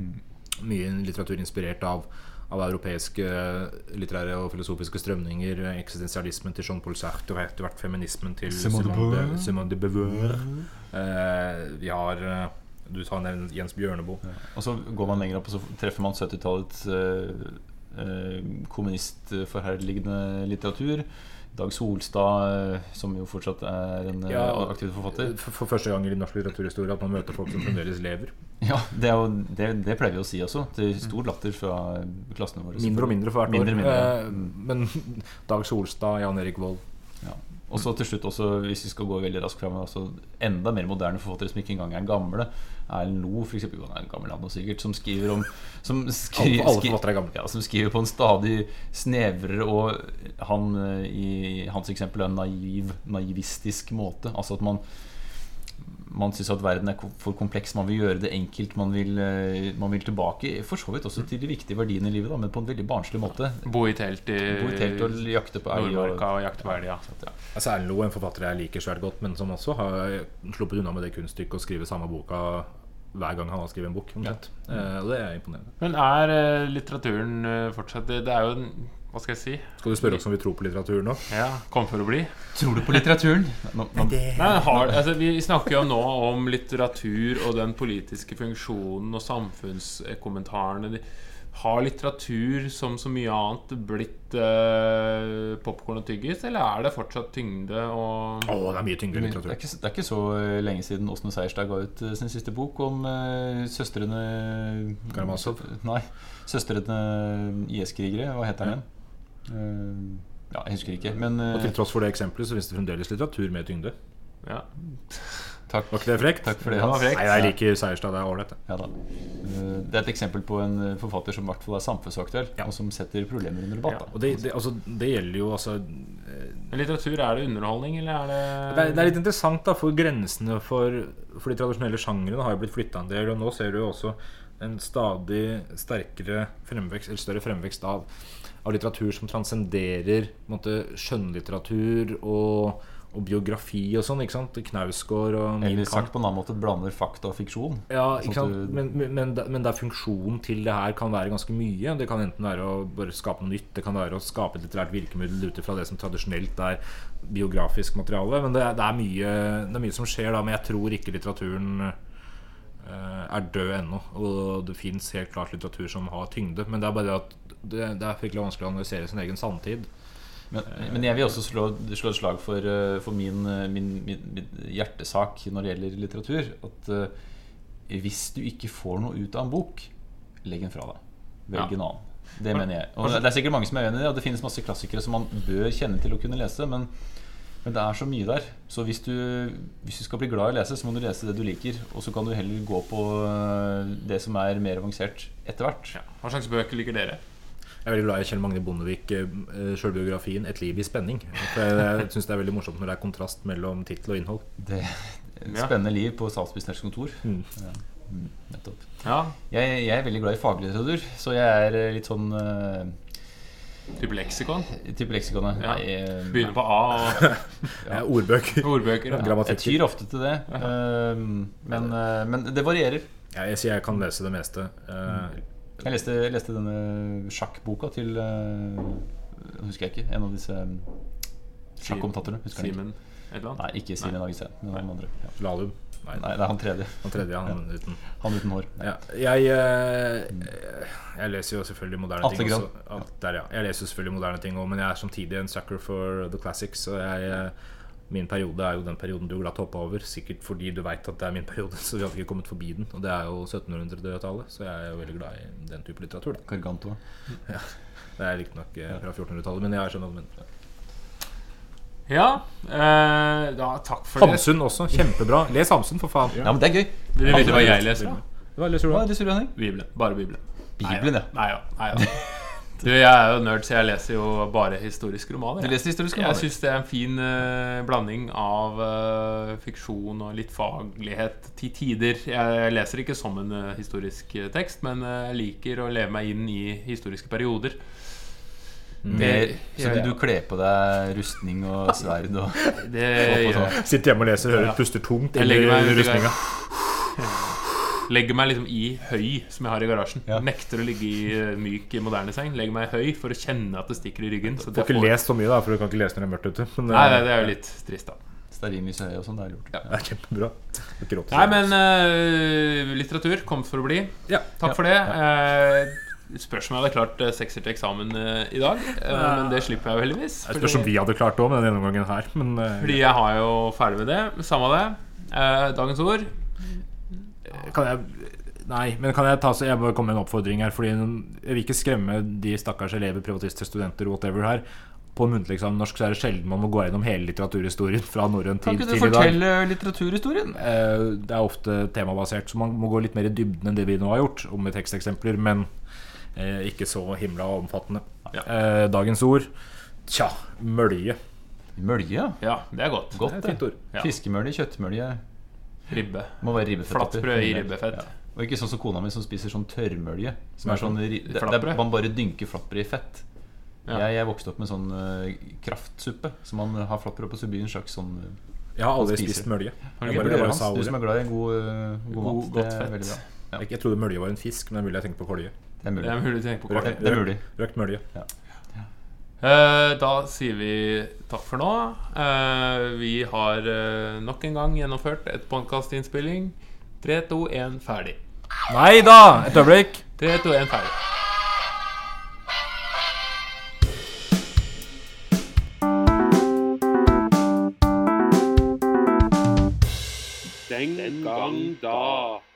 A: Mm.
D: Mye litteratur inspirert av, av europeiske eh, litterære og filosofiske strømninger. Eksistensialismen til Jean-Paul Sartre og etter hvert feminismen til
A: Simone de
D: Simone
A: Beauvoir. Mm.
D: de- Simone de Beauvoir. Eh, vi har eh, Du sa nevnt Jens Bjørneboe.
A: Og så går man lenger opp, og så treffer man 70-tallets eh, eh, kommunistforherligende litteratur. Dag Solstad, eh, som jo fortsatt er en eh,
D: Ja.
A: aktiv forfatter.
D: For, for første gang i norsk litteraturhistorie at man møter folk som fremdeles lever.
A: Ja, det, er jo, det, det pleier vi å si også, til stor latter fra klassene våre.
D: Mindre og mindre for hvert
A: Mindre og
D: år.
A: mindre, ja.
D: Eh, Men Dag Solstad, Jan Erik Vold
A: Ja. Og så til slutt også, hvis vi skal gå veldig raskt frem altså Enda mer moderne forfattere som ikke engang er gamle Erlend Loe, for eksempel Han er en gammel han også sikkert Som skriver om som skri-
D: Alle- alle
A: skri-
D: forfattere er gamle.
A: ja, Som skriver på en stadig snevrere Og han, eh, i hans eksempel er en naiv, naivistisk måte Altså at man man syns at verden er ko- for kompleks, man vil gjøre det enkelt. Man vil, eh, man vil tilbake for så vidt også til de viktige verdiene i livet, da, men på en veldig barnslig måte.
B: Bo i telt i
A: Bo i telt og jakte på elg. og-
B: Nordmarka og jakte på elg, ja.
A: Ja.
D: altså Erlend Loe, en forfatter jeg liker svært godt, men som også har sluppet unna med det kunststykket å skrive samme boka hver gang han har skrevet en bok. omtrent. Eh, og det er imponerende.
B: Men er eh, litteraturen eh, fortsatt det, det er jo en Hva skal jeg si?
D: Skal du spørre oss om vi tror på litteratur nå?
B: Ja, Kom for å bli.
A: Tror du på litteraturen? Nå, nå,
B: Nei, men har, altså, vi snakker jo nå om litteratur og den politiske funksjonen og samfunnskommentarene. De- Har litteratur som så mye annet blitt uh, popkorn og tyggis, eller er det fortsatt tyngde og
D: Å, det er mye tyngre
A: Det er,
D: litteratur.
A: ikke, det er ikke så eh, lenge siden Åsmund Seierstad ga ut eh, sin siste bok om eh, søstrene
D: Karamazov?
A: Nei. Søstrene IS-krigere. Hva heter den igjen? Eh, ja, jeg husker ikke. Men eh,
D: Og til tross for det eksempelet så finnes det fremdeles litteratur med tyngde.
B: ja.
A: takk,
D: Var ikke det frekt?
A: takk for det,
B: Ja,
A: Hans.
B: det var
D: Nei, jeg liker Seierstad. Det er ålreit. det.
A: Ja, da. Eh, det er et eksempel på en eh, forfatter som i hvert fall er samfunnsaktuell, og som setter problemer under debatt.
B: Ja.
A: da.
D: Og det, det, altså, det gjelder jo altså
B: Men litteratur, er det underholdning, eller er det
D: Det er, det er litt interessant, da, for grensene for, for de tradisjonelle sjangrene har jo blitt flytta en del. Og nå ser du jo også en stadig sterkere fremvekst, eller større fremvekst av, av litteratur som transcenderer på en måte, skjønnlitteratur og, og biografi og sånn. ikke sant? Knausgård og Min
A: Eller sagt
D: Kamp.
A: på en annen måte blander fakta og fiksjon.
D: Ja,
A: Sånn
D: ikke
A: at
D: sant?
A: du-
D: Men, men, men, der- men der funksjonen til det her kan være ganske mye. Det kan enten være å bare skape noe nytt, det kan være å skape et litterært virkemiddel ut ifra det som tradisjonelt er biografisk materiale. Men det, er- det, er, mye, det er mye som skjer da. Men jeg tror ikke litteraturen eh, er død ennå. Og det fins helt klart litteratur som har tyngde. Men det er bare det at det, det er fryktelig vanskelig å analysere sin egen samtid.
A: Men, men jeg vil også slå, slå et slag for, eh, for min, eh, min, min, min hjertesak når det gjelder litteratur. At eh, hvis du ikke får noe ut av en bok, legg den fra deg. Velg
B: Ja.
A: en annen. Det mener jeg. Og det er sikkert mange som er uenig i det, og det finnes masse klassikere som man bør kjenne til å kunne lese, men, men det er så mye der. Så hvis du, hvis du skal bli glad i å lese, så må du lese det du liker. Og så kan du heller gå på eh, det som er mer avansert etter hvert.
B: ja. Hva slags bøker liker dere?
D: Jeg er veldig glad i Kjell Magne Bondevik, eh, eh, selvbiografien 'Et liv i spenning'. For jeg jeg syns det er veldig morsomt når det er kontrast mellom tittel og innhold.
A: Det
B: Ja.
A: Spennende liv på statsministerens kontor.
D: Mm.
A: Ja. Mm, nettopp.
B: Ja,
A: Jeg, jeg er veldig glad i faglitteratur, så jeg er eh, litt sånn eh,
B: Type leksikon.
A: Type eh, leksikonet.
B: Ja.
A: Jeg,
B: Begynner på A og
D: Ja. Eh, Ordbøker.
B: ordbøker. Ja.
A: jeg
D: Grammatikker.
A: tyr ofte til det. eh, men, eh, men det varierer.
D: Ja, jeg sier jeg kan lese det meste. Eh,
A: Jeg leste, jeg leste denne sjakkboka til eh, Husker jeg ikke. En av disse eh, sjakkommentatorene. Husker jeg ikke.
B: Simen et eller annet.
A: Nei, ikke Simen Agesen, men han andre. Ja.
D: Lahlum. Nei,
A: Nei, det er han tredje.
D: han tredje, han uten.
A: Han uten hår.
D: Ja, jeg, eh, jeg leser jo selvfølgelig moderne
A: Atle
D: ting
A: Gran.
D: også. At- Der, ja. Jeg leser jo selvfølgelig moderne ting også, men jeg er samtidig en sucker for the classics. Og jeg, eh, min periode er jo den perioden du glatt hoppa over. Sikkert fordi du veit at det er min periode, så vi hadde ikke kommet forbi den. Og det er jo 1700-tallet, så jeg er jo veldig glad i den type litteratur. Da.
A: Gargantoa.
D: Det er riktignok eh, fra 1400-tallet, men jeg skjønner hva du mener.
B: Ja, eh, da, takk for det.
D: Hamsun også. Kjempebra. Les Hamsun, for faen.
A: Ja, men det er gøy.
B: Dere vet hva jeg leser? da?
D: Hva leser du
A: Hva
D: da?
A: er det, Sylvi Henning?
B: Bibelen. Bare Bibelen.
A: Bibelen, ja.
B: Nei ja. Nei, ja. Du, jeg er jo nerd, så jeg leser jo bare historiske romaner.
A: Du
B: jeg.
A: leser historiske
B: Jeg
A: romaner.
B: syns det er en fin eh, blanding av eh, fiksjon og litt faglighet til tider. Jeg leser ikke som en eh, historisk eh, tekst, men eh, jeg liker å leve meg inn i historiske perioder.
A: Mer, så
B: Ja, ja.
A: vil du kle på deg rustning og sverd og
B: Det
A: og
B: gjør jeg.
A: sånn.
D: Sitter hjemme og leser, hører puster tungt
B: Jeg legger
D: eller
B: meg,
D: rustninga.
B: legger meg liksom i høy, som jeg har i garasjen.
A: Ja.
B: Nekter å ligge i eh, myk, moderne seng. Legger meg i høy for å kjenne at det stikker i ryggen. Så
D: Du
B: det
D: får ikke lest så mye, da, for du kan ikke lese når det er mørkt ute. Men
B: Nei, nei,
D: eh,
B: det er jo litt trist, da.
A: Stearinlys i øyet og sånn. Det er lurt.
D: det er kjempebra. Det er ikke råd til
B: Nei,
D: det.
B: men eh, litteratur kom for å bli.
D: Ja.
B: Takk for det. Eh, spørs om jeg hadde klart eh, sekser til eksamen eh, i dag. eh, men det slipper jeg jo heldigvis.
D: Jeg spørs om vi hadde klart det òg med den gjennomgangen her. Men eh,
B: Fordi jeg har jo ferdig med det. Samme det. Eh, dagens ord.
D: kan jeg Nei, men kan jeg ta så Jeg bare komme med en oppfordring her. Fordi Jeg vil ikke skremme de stakkars elever, privatister, studenter, whatever her. På muntlig eksamen i norsk så er det sjelden man må gå gjennom hele litteraturhistorien fra norrøn
A: Kan ikke
D: tid
A: du
D: til i dag.
A: fortelle litteraturhistorien?
D: Eh, Det er ofte temabasert, så man må gå litt mer i dybden enn det vi nå har gjort, og med teksteksempler, men eh, ikke så himla omfattende.
B: Ja.
D: Eh, Dagens ord tja, mølje.
A: Mølje, ja.
B: Ja, det er godt.
A: Godt,
D: Det er et fint ord.
B: Ja.
A: Fiskemølje, kjøttmølje.
B: Ribbe.
A: Må være ribbefett.
B: Flatt
A: oppi.
B: brød i ribbefett.
A: Og ikke sånn som kona mi som spiser sånn tørrmølje. Som er sånn, ri- det, det er,
B: Flatbrød.
A: man bare dynker flatbrød i fett.
B: Ja.
A: Jeg, jeg vokste opp med sånn eh, kraftsuppe. Så man har flatbrød på subyen. Slags sånn eh,
D: Jeg har aldri
A: spiser.
D: spist mølje.
B: du
D: Jeg,
B: ikke
D: bare,
B: prøvd
D: jeg,
B: det,
D: bare
A: Hans,
D: sa
A: du som
D: ordet.
A: er glad i god, eh, god mat.
B: God-
A: Det
B: godt
A: er
B: fett.
A: veldig bra. Ja,
D: jeg trodde mølje var en fisk, men det er mulig jeg tenkte på kolje.
A: det er
B: Det er
A: mulig.
B: mulig å tenke på
A: Det,
B: kort.
A: det er mulig.
D: Røkt mølje.
B: Eh, da sier vi takk for nå. Eh, vi har eh, nok en gang gjennomført et podkastinnspilling. 3, 2, 1, ferdig.
D: Nei da! Et øyeblikk.
B: 3, 2, 1, ferdig.
C: Den gang da.